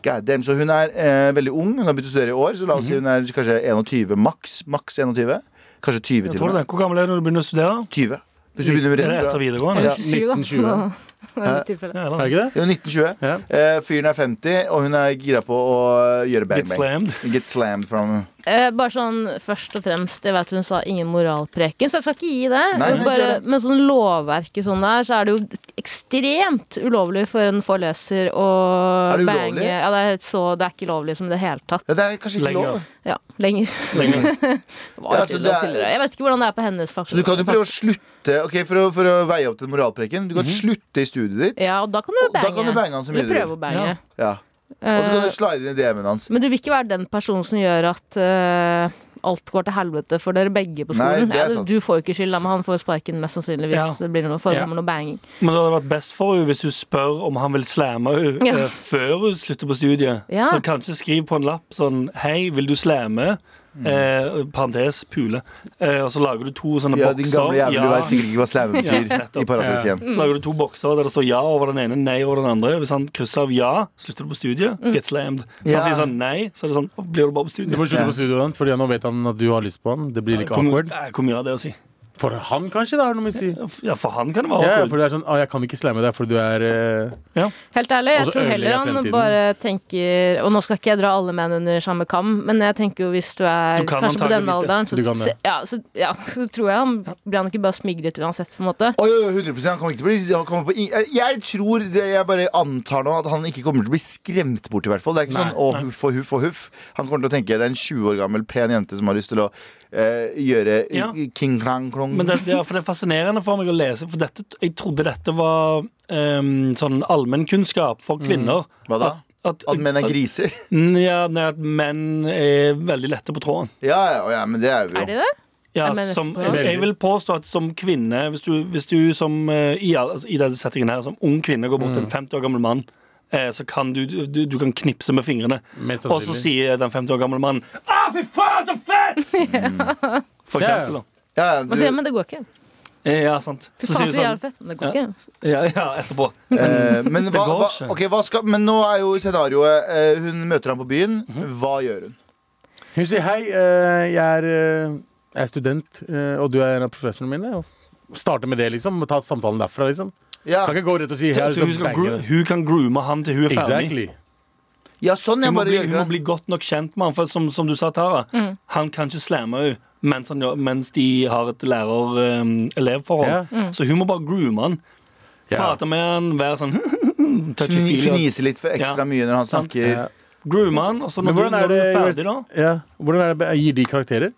God damn. Så hun er eh, veldig ung. Hun har begynt å studere i år, så la oss si hun er kanskje 21 maks. Maks 21. Kanskje 20 Jeg til og tror med. det. Hvor gammel er du når du begynner å studere? 20. Hvis du begynner Er det rett etter fra videregående? Ja. Ja. 1920. Ja. Er det ikke det? Det er jo 1920. Ja. Eh, fyren er 50, og hun er gira på å eh, gjøre Get bang-bang. slammed. Get slammed from Eh, bare sånn først og fremst, jeg vet hun sa ingen moralpreken, så jeg skal ikke gi det. Nei, nei, bare, ikke gjør det. men sånn lovverket sånn der, så er det jo ekstremt ulovlig for en foreleser å Er det ulovlig? bange. Ja, det er, så, det er ikke lovlig som i det hele tatt. ja, Det er kanskje ikke Lenger. lov. Ja, lenger. Lenger. Det var Ja, altså, det tidligere er- og tidligere. Jeg vet ikke hvordan det er på hennes Så du faktor. kan jo prøve å slutte Ok, For å, for å veie opp til moralpreken. Du kan Mhm. slutte i studiet ditt. Ja, og da kan du Da bange. kan du bange han så mye Eller du vil. prøve å bange. Ja. Ja. Og så kan Eh, du slide inn i DM-en hans. Men du vil ikke være den personen som gjør at eh, alt går til helvete for dere begge på Nei, skolen. det er Ja, du- sant. du får jo ikke skylda, men han får sparken mest sannsynligvis. Ja. Det blir noe form Ja. for noe banging. Men det hadde vært best for henne hvis hun spør om han vil slamme henne Ja. eh, før hun slutter på studiet. Ja. Så kanskje skriv på en lapp sånn Hei, vil du slamme? Mm. Eh, parentes pule. Eh, og så lager du to sånne Ja, din bokser. gamle jævel, du Ja. veit sikkert ikke hva slam Ja, betyr nettopp. i Paradis igjen. Så lager du to bokser der det står ja over den ene, nei over den andre. Hvis han krysser av ja, slutter du på studiet. Get slammed. Så Mm. Ja. han sier sånn nei, så er det sånn blir du bare på Du studiet. må slutte på studioet, Fordi nå vet han at du har lyst på han. Det blir like Hvor awkward. eh, hvor mye har det å si? For han kanskje det har noe å si. Ja, for han kan det være Ja, awkward. for det er sånn, ah, jeg kan ikke slemme deg fordi du er eh, Helt ærlig, Og jeg så tror heller ødelegger han fremtiden. bare tenker Og nå skal ikke jeg dra alle menn under samme kam, men jeg tenker jo hvis du er Du kan kanskje på denne antageligvis det. alderen, så, Du kan så, det. ja, så, ja, så tror jeg han blir han ikke bare smigret uansett, på en måte. Oi, oi, oi, 100 han kommer ikke til å bli han kommer på, ing- jeg- Jeg tror, det, jeg bare antar nå at han ikke kommer til å bli skremt bort, i hvert fall. Det er ikke sånn å, huff og huff og huff. Han kommer til å tenke det er en 20 år gammel pen jente som har lyst til å eh, gjøre Ja. king klang klong. Men det, det, er- for det er fascinerende for meg å lese, for dette, jeg trodde dette var um, sånn allmennkunnskap for kvinner. Hva da? At, Mm. At menn er griser? Ja, nei, at menn er veldig lette på tråden. Ja, ja, ja, men det er vi jo. Er de det? Ja, Er menn lette som, på jeg, tråden? jeg vil påstå at som kvinne, hvis du, hvis du som eh, i, all- altså, i denne settingen her, som ung kvinne går Mm. bort til en 50 år gammel mann, eh, så kan du, du, du kan knipse med fingrene. Mest Og så sannsynlig. sier den 50 år gamle mannen Å, fy faen, så fett! For Ja, ja. eksempel. da. Ja, ja, Man sier, du, men det går ikke. Eh, Ja, sant. Fy Så faen, sier du så sånn jævlig fett. Men det går Ja. ikke. Ja, ja, etterpå. eh, men, hva, går hva, ikke. ok, hva skal, men nå er jo scenarioet eh, Hun møter ham på byen. Mhm. Hva gjør hun? Hun sier hei, eh, jeg er, eh, jeg er student, eh, og du er en av professorene mine. Og starte med det, liksom. og Ta samtalen derfra, liksom. Ja, Kan ikke gå rett og si hei. Så hun, Liksom, skal, bange gro- det. hun kan groome han til hun er ferdig. exactly. ja sånn. Hun Jeg må, bare bli, gjør hun må det. bli godt nok kjent med han For som, som du sa, Tara, Mm, han kan ikke slamme henne mens, han, gjør- mens de har et eh, lærer-elev-forhold. mm. Ja. Så hun må bare groome han. Ja. Prate med han, være sånn touchy Fni- feely. Fnise litt for ekstra altså. Ja. mye når han Sant. snakker. Ja. Groome han, og så når Men du hvordan er når du er det- ferdig, da Ja. Hvordan er det, Gir de karakterer?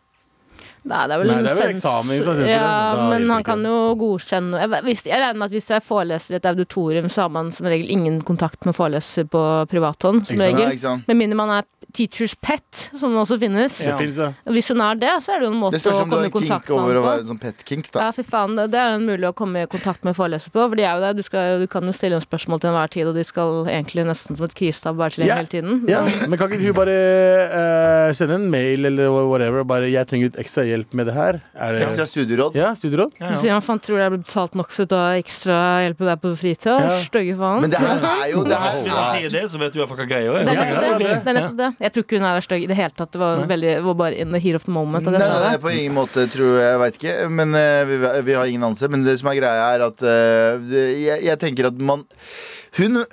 Nei, det er vel, Nei, det er vel sens- eksamen i sånn sensor, da. Da Ja, men hjelper han ikke kan det. jo godkjenne jeg, vet- hvis, jeg regner med at hvis jeg foreleser i et auditorium, så har man som regel ingen kontakt med foreleser på privathånd, som Ikke Sånn, sant? Ja, regel. ikke sant? Med mindre man er teacher's pet, som det også finnes. Det finnes, eh, ja. Og Hvis hun er det, så er det jo en måte Det spørs å om du har komme i en kink kontakt med over å han være på. sånn pet-kink, da. Ja, fy faen, det det er jo en mulig å komme i kontakt med foreleser på. For de er jo der, du, skal, du kan jo stille dem spørsmål til enhver tid, og de skal egentlig nesten som et krisestab være tilgjengelig Ja. hele tiden. Ja, men kan ikke du bare eh, sende en mail eller whatever? Bare 'jeg trenger litt ekstra hjelp med det her'. Er det, Ekstra studieråd. Ja, studieråd? Ja, Så ja. sier han, faen, tror du jeg blir betalt nok for å ta ekstra hjelp på deg på fritida? Ja. Stygge faen. Men det her er jo det her Hvis er, han sier det, så vet du iallfall hva greia er. Det er Ja, nettopp ja, det. ja. det, er nettopp det. Jeg tror ikke hun er stygg i det hele tatt. Det var, Nei. veldig, var bare in the heat of the moment. At Nei, jeg nei, sa nei, det. på ingen måte, tror jeg. Jeg veit ikke. Men eh, vi, vi har ingen anelse. Men det som er greia, er at eh, det- jeg, jeg tenker at man Hun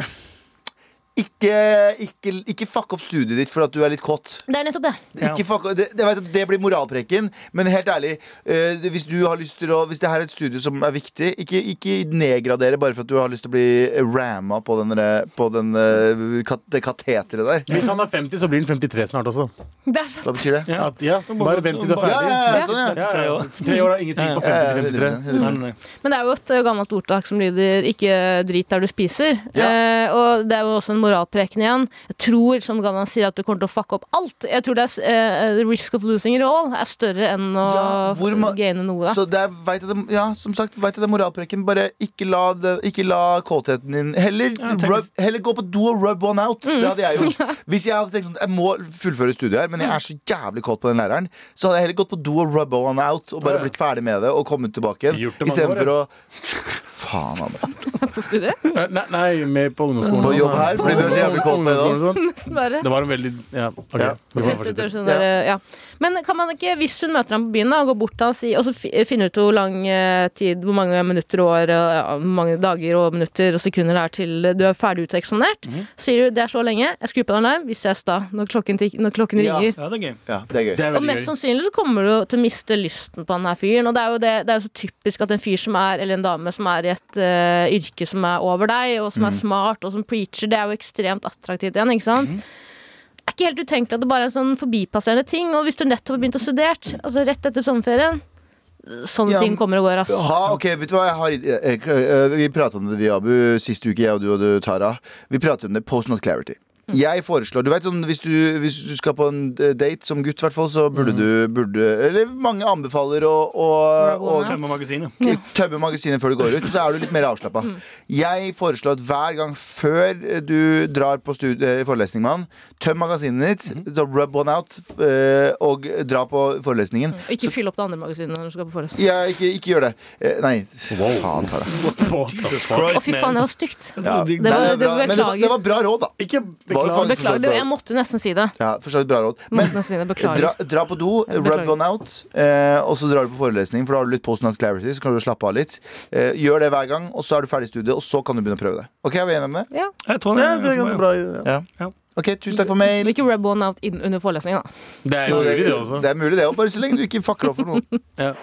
ikke, ikke, ikke fuck opp studiet ditt for at du er litt kåt. Det er nettopp det. Ja. Ikke fuck, det, jeg vet at det blir moralpreken, men helt ærlig eh, Hvis du har lyst til å Hvis det her er et studie som er viktig, ikke, ikke nedgradere bare for at du har lyst til å bli ramma på, den der- på den, eh, kat, det kateteret der. Hvis han er 50, så blir han 53 snart også. det er Hva sant. betyr det? Ja. At, ja, bare vent til du er Bare- Ja, ferdig. ja, ja, sånn, ja. Ja, Tre ja. år. Tre år er ingenting på Ja, ja, 50 53. 100%, 100%. Nei, nei, nei. Men det er jo et eh, gammelt ordtak som lyder 'ikke drit der du spiser'. Ja. Eh, og det er jo også en moralpreken igjen. Jeg tror, som Galvan sier, at du kommer til å fucke opp alt. Jeg tror det er eh, the risk of losing it all er større enn å Ja, hvor ma- gaine noe. Så det er, vet jeg det, ja, som sagt, vet jeg det er moralpreken. Bare ikke la, det, ikke la kåtheten din heller, Ja, tenk- rub, heller gå på do og rub one out. Det hadde jeg gjort. Hvis jeg hadde tenkt sånn, jeg må fullføre studiet her, men jeg er så jævlig kåt på den læreren, så hadde jeg heller gått på do og rub one out og Ja, bare ja. blitt ferdig med det og kommet tilbake igjen. Gjort det mange Istedenfor å år, Faen, Anne. på studiet. Eh, Nei, nei, med på ungdomsskolen. På jobb her, fordi du er så jævlig kåt med det, ass. sånn. Nesten bare. Det var en veldig Ja, ok. Ja. Du får Rett fortsette. etter sånn der, ja. Men kan man ikke, hvis hun møter ham på byen da, og går bort til ham si, og så fi- finner ut hvor lang eh, tid, hvor mange minutter og år, og, ja, hvor mange dager og minutter og sekunder det er til du er ferdig uteksponert, Mhm. sier du det er så lenge, jeg skrur på en alarm, vi ses da når klokken, tikk- når klokken Ja. ringer. Ja, det er gøy. Ja, det er gøy. Det er Og veldig mest sånn- gøy. sannsynlig så kommer du til å miste lysten på den her fyren. Og det er jo, det, det er jo så typisk at en fyr som er, eller en dame som er i et eh, yrke som er over deg, og Mm. som er smart, og som preacher, det er jo ekstremt attraktivt igjen, ikke sant? Det er ikke helt utenkelig at det bare er en sånn forbipasserende ting. Og hvis du nettopp har begynt å studert, altså rett etter sommerferien, sånne Ja, ting kommer og går, ass. Ha, ok, vet du hva jeg har, jeg, jeg, eh, Vi pratet om det, vi, Abu, sist uke, jeg og du og du, Tara. Vi pratet om det post not clarity. Jeg foreslår, du vet sånn, hvis du, hvis du skal på en eh, date som gutt, hvertfall, så burde du burde, Eller mange anbefaler å, å, å Rub one Tømmer magasinet. k- tømme magasinet før du går ut. Så er du litt mer avslappa. Jeg foreslår at hver gang før du drar på stud- eh, forelesning med han, tøm magasinet ditt, da rub one out, f- eh, og dra på forelesningen. Og Ikke fyll opp det andre magasinet når du skal på forelesning. Ja, ikke, ikke gjør det. Eh, Nei, faen, Tara. Jesus Å, Christ, fy man. faen, det var stygt. Ja. Det var- Nei, det- bra, men det, var, beklager. det var bra råd, da. Ikke Var det beklager. faktisk- Beklager, jeg måtte nesten si det. Ja, for så vidt bra råd. Men eh, Måtte nesten si det, dra, Beklager. dra på do, Beklager. rub one out, eh, og så drar du på forelesning, for da har du litt post not clarity, så kan du slappe av litt. Eh, gjør det hver gang, og så er du ferdig i studiet, og så kan du begynne å prøve det. Ok, er vi enige om det? Ja. Jeg tror Ja, det er ganske bra. Ja. Ok, tusen takk for mail. Men ikke rub one out inn- under forelesningen, da. Det er Jo, jo det, mulig, det også. det er mulig, det. og Bare så lenge du ikke fucker opp for noen. Ja.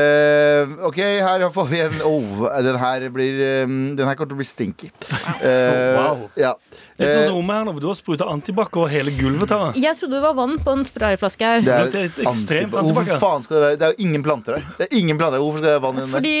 Eh, ok, her får vi en oh, Den her blir eh, Den her kommer til å bli stinky. Eh, Wow. ja. Litt sånn Eh, som rommet her nå, for du har spruta antibac over hele gulvet. Tara. Jeg trodde det var vann på en sprayflaske her. Det Det er er et ekstremt antiba- Hvorfor antibac, ja. faen skal det være Det er jo ingen planter her. Det er ingen planter her. Hvorfor skal det være vann i den der? Fordi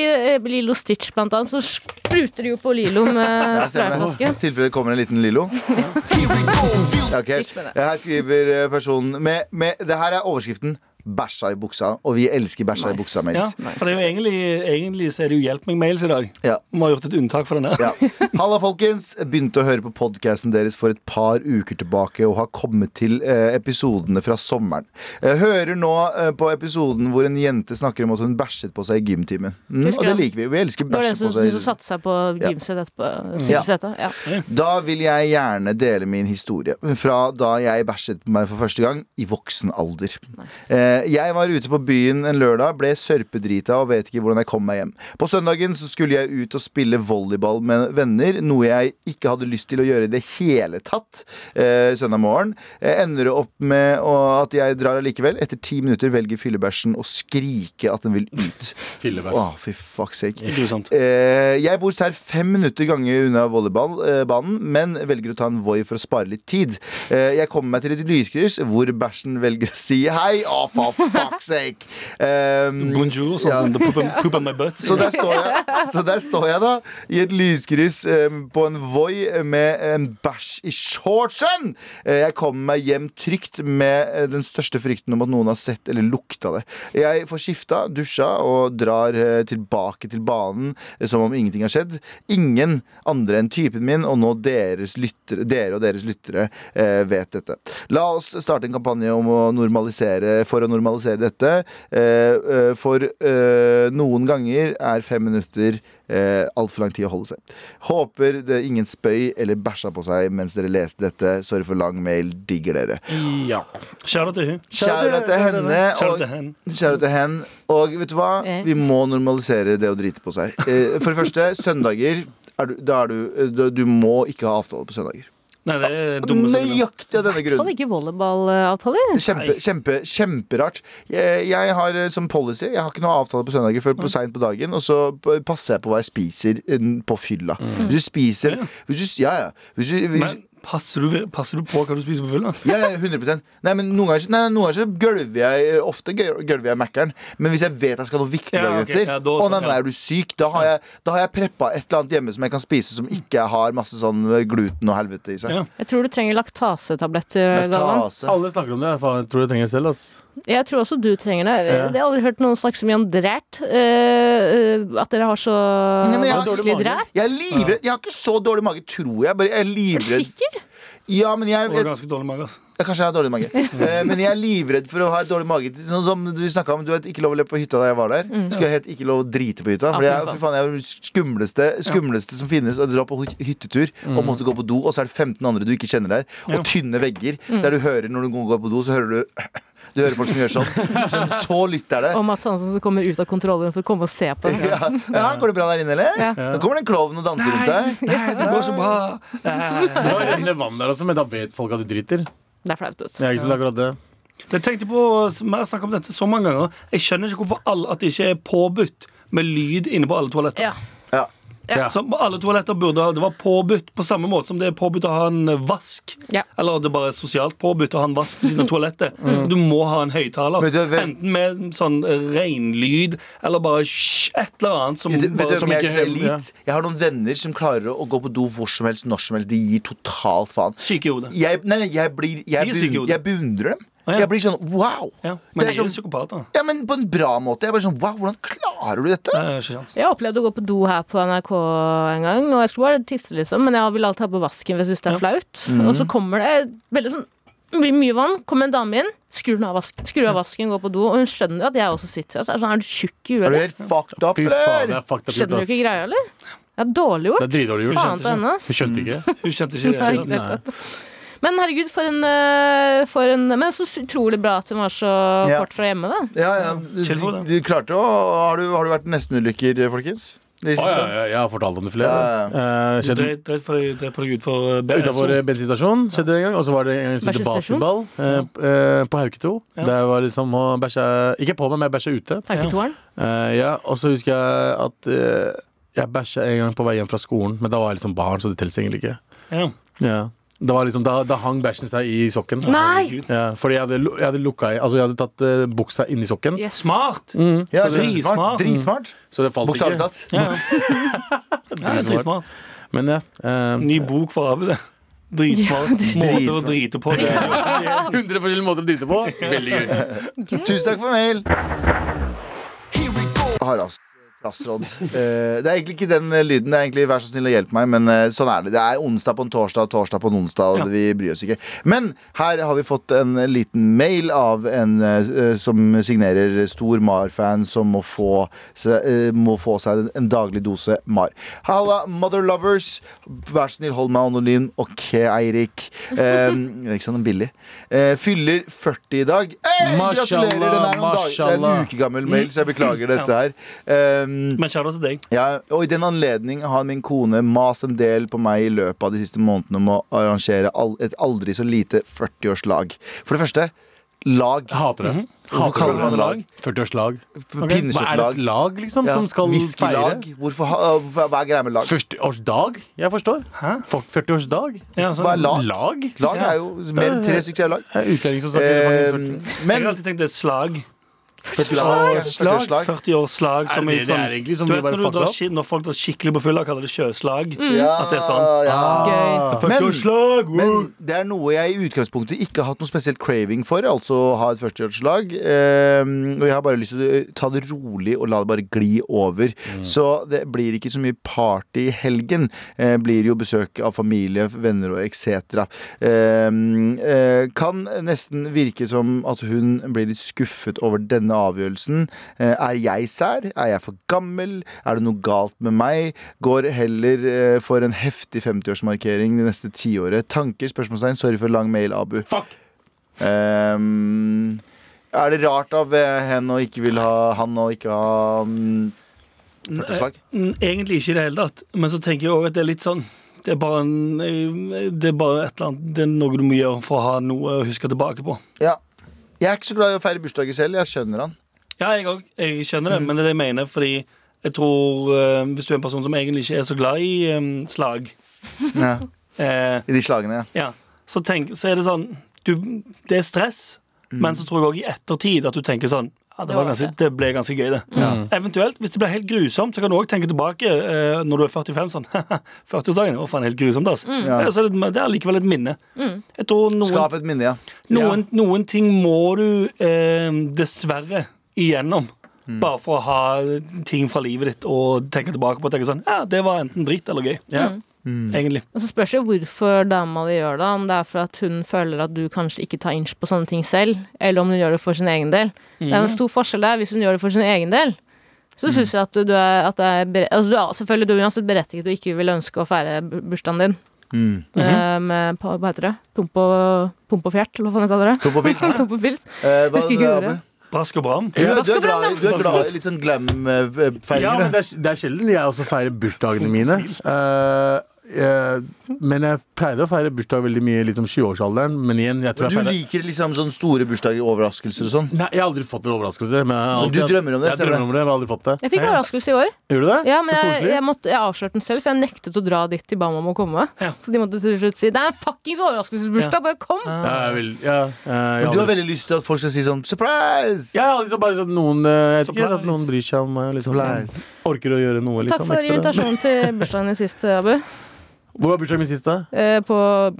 eh, Lilo Stitch blant annet, så spruter de jo på Lilo med Ja, stemmer sprayflaske. det. I tilfelle det kommer en liten Lilo. Ja, ok. Her skriver eh, personen med, med, Det her er overskriften. Bæsja i buksa. Og vi elsker bæsja i Nice. buksa, Ja, Mails. for det er jo egentlig, egentlig så er det jo Hjelp meg mails i dag. Ja. Vi har gjort et unntak for den her. Ja. Halla, folkens. Begynte å høre på podkasten deres for et par uker tilbake og har kommet til eh, episodene fra sommeren. Jeg hører nå eh, på episoden hvor en jente snakker om at hun bæsjet på seg i gymtimen. Mm, Husker og det det. liker vi. Vi elsker Det var det bæsje som, på seg. som satte seg på gymset etterpå. Ja. sykehus etterpå, Ja. Da vil jeg gjerne dele min historie fra da jeg bæsjet på meg for første gang i voksen alder. Eh, Jeg var ute på byen en lørdag, ble sørpedrita og vet ikke hvordan jeg kom meg hjem. På søndagen så skulle jeg ut og spille volleyball med venner, noe jeg ikke hadde lyst til å gjøre i det hele tatt eh, søndag morgen. Jeg ender opp med å- at jeg drar allikevel. Etter ti minutter velger fyllebæsjen å skrike at den vil ut. Fillebæsj. Åh, fy fuck's sake. Grusomt. Eh, jeg bor sær fem minutter ganger unna volleyballbanen, men velger å ta en Voi for å spare litt tid. Eh, jeg kommer meg til et lyskryss hvor bæsjen velger å si hei. Å, for fuck's sake! Eh, Bonjour, sånn Ja. som the poop, on- poop on my butt. så der, står jeg, så der står jeg da i et lyskryss eh, på en Voi med en bæsj i shortsen! Eh, jeg kommer meg hjem trygt med eh, den største frykten om at noen har sett eller lukta det. Jeg får skifta, dusja og drar eh, tilbake til banen eh, som om ingenting har skjedd. Ingen andre enn typen min og nå deres lyttere, dere og deres lyttere eh, vet dette. La oss starte en kampanje om å normalisere, for å normalisere dette. Eh, eh, for eh, noen ganger er fem minutter eh, altfor lang tid å holde seg. Håper det ingen spøy eller bæsja på seg mens dere leste dette. Sorry for lang mail. Digger dere. Ja. Kjære til hun. Kjære til henne. Kjære Og til hen. Kjære til hen. Og vet du hva? Eh. Vi må normalisere det å drite på seg. Eh, For det første, søndager er du, da er du, du, du må ikke ha avtale på søndager. Nei, det er dumme som Nøyaktig av denne I hvert fall grunnen. ikke volleyballavtaler. Kjempe, kjempe, Kjemperart. Jeg, jeg har eh, som policy Jeg har ikke noe avtale på søndager før Mm. på seint på dagen, og så p- passer jeg på hva jeg spiser eh, på mm, fylla. Hvis du spiser Mm. Ja, ja. hvis du, Ja, ja. Hvis du, hvis, Men Passer du, passer du på hva du spiser på fylla? Ja, ja, 100 Nei, men Noen ganger, nei, noen ganger så gølver jeg eh, ofte gøl- gølver jeg Mac-eren. Men hvis jeg vet jeg skal ha noe viktig Ja, dagen ok, etter, ja, da å sånn, nei, nei, ja. er du syk? Da har jeg, da har jeg preppa et eller annet hjemme som jeg kan spise som ikke har masse sånn gluten og helvete i seg. Ja. Jeg tror du trenger laktasetabletter, Galvan. Laktase. Alle snakker om det. Jeg faen, tror jeg trenger det selv. ass Jeg tror også du trenger det. Ja. Jeg har aldri hørt noen snakke så mye om drært. eh, eh, at dere har så Nei, men jeg har vanskelig dårlig mage. drært. Jeg er livredd. Jeg har ikke så dårlig mage, tror jeg. Bare jeg er Er du livredd. sikker? Ja, men jeg, Og jeg, ganske dårlig mage. altså. ass. jeg Kanskje jeg har dårlig mage. Eh, men jeg er livredd for å ha dårlig mage. Sånn som Du snakket om, du hadde ikke lov å le på hytta da jeg var der. Skulle jeg helt ikke lov å drite på hytta. Ja, For jeg, Mm. Ah, fy faen. fy faen, jeg er den skumleste, skumleste som finnes å dra på hy- hyttetur og måtte gå på do, og så er det 15 andre du ikke kjenner der, og Mm. Ja. tynne vegger Mm. der du hører når du går på do, så hører du Du hører folk som gjør sånn. sånn så lytt er det. Og Mads Hansen som kommer ut av kontrollrommet for å komme og se på det. Ja. ja, Går det bra der inne, eller? Ja. Da kommer det en klovn og danser rundt Nei, deg. nei, det går så bra! Eh, Det var rennende vann der også, men da vet folk at du driter. Det er flaut. vet du. Jeg er ikke sånn akkurat Jeg det tenkte på, Vi har snakket om dette så mange ganger. Jeg skjønner ikke hvorfor alle, at det ikke er påbudt med lyd inne på alle toaletter. Ja. Ja. Ja. Så på alle toaletter burde ha- Det var påbudt på samme måte som det er påbudt å ha en eh, vask. Ja. Eller det er bare sosialt påbudt å ha en vask ved siden av toalettet. Mm. Du må ha en høyttaler. Vet du hva- Enten med sånn eh, reinlyd eller bare sj- et eller annet som Vet du, vet bare, du, som hvem jeg ikke er hører- elit? Jeg har noen venner som klarer å gå på do hvor som helst, når som helst. De gir totalt faen. Syke i hodet. Jeg, nei, nei, jeg, blir, jeg, De er syke i beund, hodet. jeg beundrer dem. Å, ja. Jeg blir sånn wow! Ja, Det er men de er jo sånn- psykopater. Ja, men på en bra måte. Jeg er bare sånn wow, hvordan klarer du dette? Det er ikke sjans. Jeg opplevde å gå på do her på NRK en gang, og jeg skulle bare tisse, liksom, men jeg vil alltid ha på vasken hvis jeg syns det er flaut. Og så kommer det veldig sånn det blir mye vann, kommer en dame inn, skrur den av vasken, skrur av vasken, går på do, og hun skjønner at jeg også sitter her. Så er det sånn, er du tjukk i huet? Er du eller? helt fucked up, Fy faen, det eller? er fucked up gjort, Skjønner du ass. ikke greia, eller? Det er dårlig Det er gjort. dritdårlig gjort. Faen til henne, ass. Du skjønte ikke? Hun kjente ikke det. Nei, hele tatt. greit, vet du. Men herregud, for en, eh, for en Men så utrolig bra at hun var så Ja. kort fra hjemme, da. Ja, ja. Du, Chill for du, det. du klarte å har du, har du vært nestenulykker, folkens? De Å, ja, siste? ja, jeg har fortalt om det flere Ja, ganger. Eh, Du skjedde dreit dreit for deg- dreit på deg utfor eh, BSO. Utafor bensinstasjonen skjedde det en gang, og så var det en gang jeg spilte Bensinstasjon? basketball eh, eh, på Hauketo. Ja. Der var liksom å bæsja Ikke på meg, men jeg bæsja ute. Hauketoeren. Eh, ja, og så husker jeg at eh, jeg bæsja en gang på vei hjem fra skolen, men da var jeg liksom barn, så det teller egentlig ikke. Ja. Ja. Det var liksom, da, da hang bæsjen seg i sokken. Nei! Ja, fordi jeg hadde, lu- jeg hadde lukka i Altså, jeg hadde tatt eh, buksa inni sokken, Yes. Smart! Mm. Ja, Så Mm. det- dritsmart. dritsmart. så det falt Bokstavelig talt. ikke. Ja, ja. ja det er dritsmart. Men ja. eh, Ny bok for Abu, det. Dritsmart. Måter å dritsmart. drite på. Det er jo ikke det. 100 forskjellige måter å drite på. Veldig gøy. Tusen takk for mail. Here we go. Harass. altså Trassråd. Eh, det er egentlig ikke den eh, lyden. Det er egentlig Vær så snill å hjelpe meg, men eh, sånn er det. Det er onsdag på en torsdag, og torsdag på en onsdag, og vi bryr oss ikke. Men her har vi fått en liten mail av en eh, som signerer stor Mar-fan, som må få, se- eh, må få seg en- en daglig dose Mar. Halla, mother lovers. Vær så snill, hold meg anonym. OK, Eirik. Eh, det er ikke sånn billig. Eh, fyller 40 i dag. Hey, gratulerer! Den er om dag. Det er en Mashallah. uke gammel mail, så jeg beklager dette her. Um, Men kjære til deg. ja, og i den anledning har min kone mast en del på meg i løpet av de siste månedene om å arrangere al- et aldri så lite 40-årslag. For det første, lag. Hater det. Hvorfor Hater kaller det. man det lag? 40-årslag. Hva er det Pinnekjøttlag. et lag, liksom, Ja, som skal Whiskylag. feire? Hvorfor ha- Hva hva er greia med lag? Førsteårsdag? Jeg forstår. Hæ? Folk 40-årsdag? Ja, Hva er sånn. lag? Lag? Lag er jo mer enn tre stykker er lag. Det er Utlending som snakker Eh, faktisk 40. Jeg men har alltid tenkt det er slag. Slag. Slag. 40 års Eh, slag. Er Som det i det det sånn, er egentlig, som du vi vet bare når, du fucker drar, opp? ski- når folk drar skikkelig på fylla, kaller det sjøslag. Ja, At det er sånn. Ah. ja. Gøy. Men- 40-årslag! Men det er noe jeg i utgangspunktet ikke har hatt noe spesielt craving for. Altså å ha et førsteårslag. ehm, og jeg har bare lyst til å eh, ta det rolig og la det bare gli over. Så det blir ikke så mye party i helgen. Eh, blir jo besøk av familie, venner og etc. Ehm, eh, kan nesten virke som at hun blir litt skuffet over denne avgjørelsen. Eh, er jeg sær? Er jeg for gammel? Er det noe galt med meg? Går heller eh, for en heftig 50-årsmarkering det neste tiåret. Tanker? Spørsmålstegn. Sorry for lang mail, Abu. Fuck! Ehm, er det rart av eh, hen å ikke vil ha han og ikke ha mm, 40-slag? Mm, Egentlig ikke i det hele tatt. Men så tenker jeg òg at det er litt sånn det er, bare en, det er bare et eller annet Det er noe du må gjøre for å ha noe å huske tilbake på. Ja. Jeg er ikke så glad i å feire bursdager selv. Jeg skjønner han. Ja, jeg òg. Jeg skjønner det, men det er det jeg mener. Fordi jeg tror eh, Hvis du er en person som egentlig ikke er så glad i eh, slag, Ja. eh, Eh, I de slagene, ja. ja. så, tenk, så er det sånn du, Det er stress, Mm. Mm. men så tror jeg òg i ettertid at du tenker sånn ja, det, var ganske, det ble ganske gøy, det. Mm. Eventuelt, hvis det blir helt grusomt, så kan du òg tenke tilbake eh, når du er 45 sånn 40-årsdagen var faen helt grusomt, altså. Mm, Ellers er det, det er likevel et minne. Jeg tror noen Skap et minne, ja. Noen, noen ting må du eh, dessverre igjennom. Mm. Bare for å ha ting fra livet ditt og tenke tilbake på og tenke sånn Ja, det var enten dritt eller gøy. mm. Mm. Egentlig. Og så spørs det hvorfor dama di gjør det. Om det er for at hun føler at du kanskje ikke tar inch på sånne ting selv, eller om hun gjør det for sin egen del. Det Mm. er en stor forskjell der. Hvis hun gjør det for sin egen del, så syns jeg at du, du er, at det er bere- altså, du er Selvfølgelig du er uansett berettiget du ikke vil ønske å feire bu- bursdagen din. Mm. Mhm. eh, Med pa- hva heter det? Pump og, pump og fjert, eller hva faen jeg kaller det. Tro på pils. Pump og pils. Eh, hva- Husker ikke hva- ordet. Brask og bram. Du, er- du, er Raskebram, glad, i- du er glad i litt sånn Ja, men glam-feiringer. det er, det er sjelden jeg også feirer bursdagene mine. Eh, eh, men jeg pleide å feire bursdag veldig mye liksom 20-årsalderen. Men igjen, jeg tror jeg du feirer liker liksom sånne store bursdagsoverraskelser og sånn. Nei, jeg har aldri fått en overraskelse. Men jeg har Men alltid, du drømmer om det, Jeg ser du det? drømmer om det, men jeg har aldri fått det. Jeg fikk overraskelse i år. Gjorde du det? Ja, men Så jeg, koselig. jeg, måtte, jeg avslørte den selv, for jeg nektet å dra dit til ba meg om å komme. Så de måtte til slutt si 'det er en fuckings overraskelsesbursdag, bare kom'. Ja, jeg vil, ja, Men eh, jeg, har du har aldri- veldig lyst til at folk skal si sånn 'surprise'! jeg har liksom bare sånn noen eh, Jeg vet ikke Surprise. at noen bryr seg om meg. Liksom, Surprise. orker å gjøre noe Takk liksom, for ekstra. invitasjonen til bursdagen din sist, Abu. Hvor var bursdagen min sist, da? Eh, på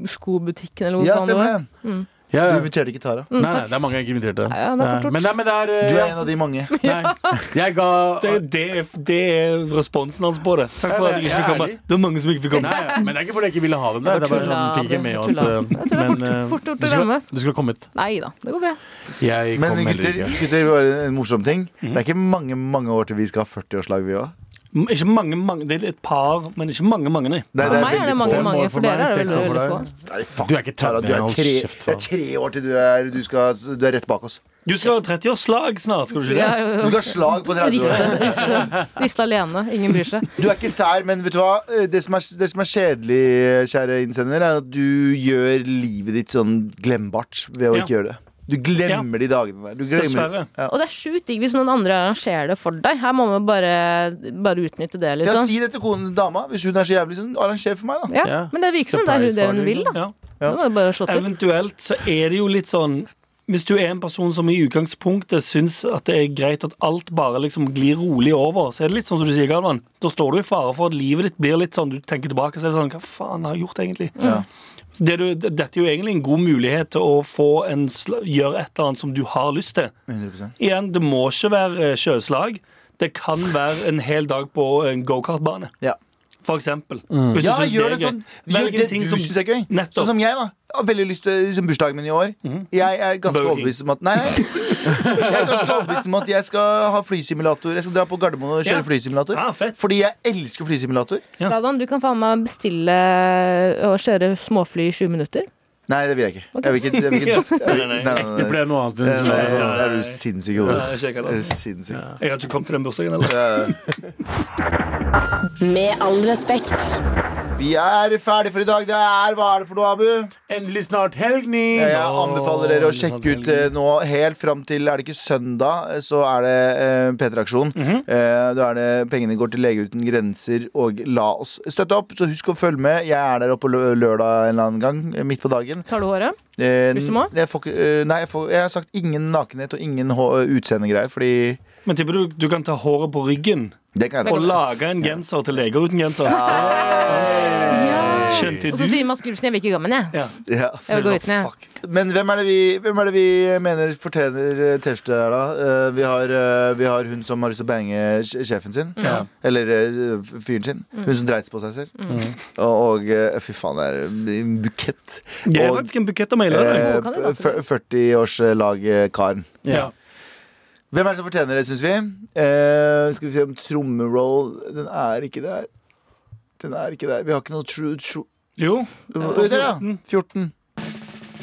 skobutikken eller hvor Ja, faen det var. Mm. stemmer det. Ja, Du ja. inviterte ikke Tara. Nei, nei, det er mange jeg ikke inviterte. Ja, ja, det er fort Eh, gjort. men, nei, men det er, Du eh, er en av de mange. nei. Jeg ga Det, det, er, det er responsen hans på det. Takk for Ja, at jeg men ikke fikk jeg er komme. ærlig. Det er mange som ikke fikk komme. Nei, men det er ikke fordi jeg ikke ville ha dem der. Det er bare sånn, fikk ikke med oss Tulla. eh, Jeg tror det er fort- eh, fort gjort å du skulle- glemme. Du skulle ha kommet. Nei da, det går bra. Jeg Men kom gutter, heller ikke. gutter bare en morsom ting. Mm. Det er ikke mange mange år til vi skal ha 40-årslag, vi òg. M- Ikke mange, mange, det er et par, men ikke mange, mange, nei. Nei, For meg er det mange, få. mange. For For meg dere er det seks veldig, år for veldig deg. få. Nei, fuck, Du er ikke Tara, 30, du er hold tre, kjeft, det er faen. tre år til du er, du skal, du er rett bak oss. Du skal ha 30-årsslag snart, skal du ikke Ja, det? Du jo, jo. skal ha slag på 30 Riste, år. riste, riste alene. Ingen bryr seg. Du er ikke sær, men vet du hva? Eh, Det som er, det som er kjedelig, kjære innsender, er at du gjør livet ditt sånn glembart ved å Ja. ikke gjøre det. Du glemmer de dagene der. Du glemmer, Dessverre. Ja. Og det er sjukt digg hvis noen andre arrangerer det for deg. Her må man bare, bare utnytte det, Ja, liksom. si det til konen dama, hvis hun er så jævlig sånn. Arranger for meg, da. Ja, Ja. men det virker som det er hun- det hun Surprise-fag, vil, da. Ja. Det må jo bare slå til. Eventuelt så er det jo litt sånn Hvis du er en person som i utgangspunktet syns at det er greit at alt bare liksom glir rolig over, så er det litt sånn som du sier, Galvan. Da står du i fare for at livet ditt blir litt sånn Du tenker tilbake, så er det sånn Hva faen har jeg gjort, egentlig? Ja. Det du, d- dette er jo egentlig en god mulighet til å få en, sl- gjøre et eller annet som du har lyst til. 100%. Igjen, det må ikke være eh, sjøslag. Det kan være en hel dag på en gokartbane, Ja. for eksempel. Hvis du Ja, synes gjør er det gøy. sånn. Gjør Velg en det ting du som- syns er gøy. Nettopp. Mhm. Sånn som jeg, da. Jeg har veldig lyst til liksom, bursdagen min i år. Jeg er ganske Burger King. overbevist om at Nei, nei. jeg er ganske overbevist om at jeg skal ha flysimulator. Jeg skal dra på Gardermoen og kjøre Ja. Ah. flysimulator. Ja, fett. Fordi jeg elsker flysimulator. Ja. Galvan, du kan faen meg bestille eh, og kjøre småfly i 20 minutter. Nei, det vil jeg ikke. Jeg vil ikke, jeg vil ikke jeg vil, Nei, nei. nei, nei, Det nei, ble noe annet Det enn er- sånn. det er du sinnssyk i Nei, hodet. ikke jeg heller. Det er Sinnssyk. Jeg har ikke kommet til den bursdagen, eller? Med all respekt. Vi er ferdig for i dag. Det er Hva er det for noe, Abu? Endelig snart helgning! Jeg anbefaler dere å sjekke ut eh, nå helt fram til Er det ikke søndag, eh, så er det eh, P3-aksjon. Mhm. Eh, da er det Pengene går til Leger uten grenser, og la oss støtte opp. Så husk å følge med. Jeg er der oppe lø- lørdag en eller annen gang, eh, midt på dagen. Tar du håret? Eh, Hvis du må? Jeg, får, ikke- eh, nei, jeg, får, jeg har sagt ingen nakenhet og ingen hå- utseendegreier, fordi Men tipper du du kan ta håret på ryggen det kan jeg ta. og lage en genser til leger uten genser? Skjønte Og du? så sier Mads Gulfsen 'jeg vil ikke gå med den', jeg. Ja. Ja. Jeg vil gå uten, jeg. Fuck. Men hvem er, det vi, hvem er det vi mener fortjener eh, T-skjorte her, da? Eh, vi, har, eh, vi har hun som har lyst til å bange sj- sjefen sin. Eller eh, fyren sin. Hun som dreit på seg selv. Og, og eh, fy faen, det er en bukett. Det er Og faktisk en bukett av mailer. det. eh, Hun kan jo late det. 40-årslag-karen. Ja. Hvem er det som fortjener det, syns vi? Eh, skal vi se om trommeroll Den er ikke der. Den er ikke der. Vi har ikke noe true, true Jo. Mm. Oi, Der, ja. 14.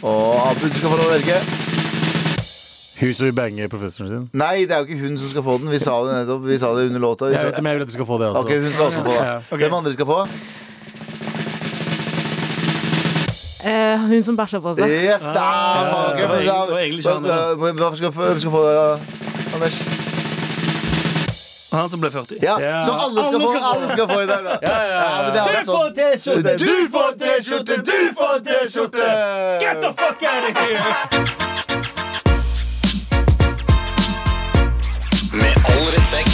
Og Abu, du skal få lov å velge. Hun som vil bange professoren sin. Nei, det er jo ikke hun som skal få den. Vi sa det nettopp. Vi sa det under låta. Vi Jeg, sa- vet, men jeg vil at du skal få det altså. også. Ok, hun skal også få det. Ja. Ok. Hvem andre skal få? Eh, hun som bæsja på seg. Yes, da! ja, faen, ok, ja, men da- det var egentlig ikke han, Hva- hva- Hvorfor skal, hvorfor skal få det, Anders? Han som ble 40. Ja, Det er- Så alle skal få alle skal få i dag, da. Ja, ja, ja. men det er Du får sånn. T-skjorte! Du får T-skjorte! Du får T-skjorte! Get the fuck out of here! Med all respekt.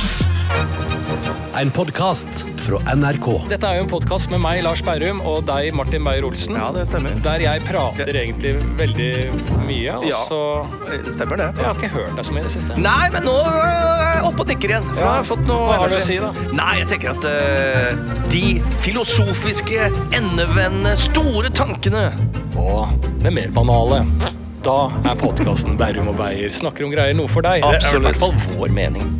En podkast fra NRK. Dette er jo en podkast med meg, Lars Berrum, og deg, Martin Beyer-Olsen. Ja, det stemmer. Der jeg prater egentlig veldig mye, og Ja. så Eh, Det stemmer, det. Jeg har ikke hørt deg så mye i det siste. Nei, men nå øh, er jeg oppe og nikker igjen. for Ja. jeg har fått noe Hva har du å energi. si, da? Nei, jeg tenker at øh, de filosofiske, endevendende, store tankene Og det mer banale. Da er podkasten Berrum og Beyer snakker om greier noe for deg. Det er i Absolutt. hvert fall vår mening.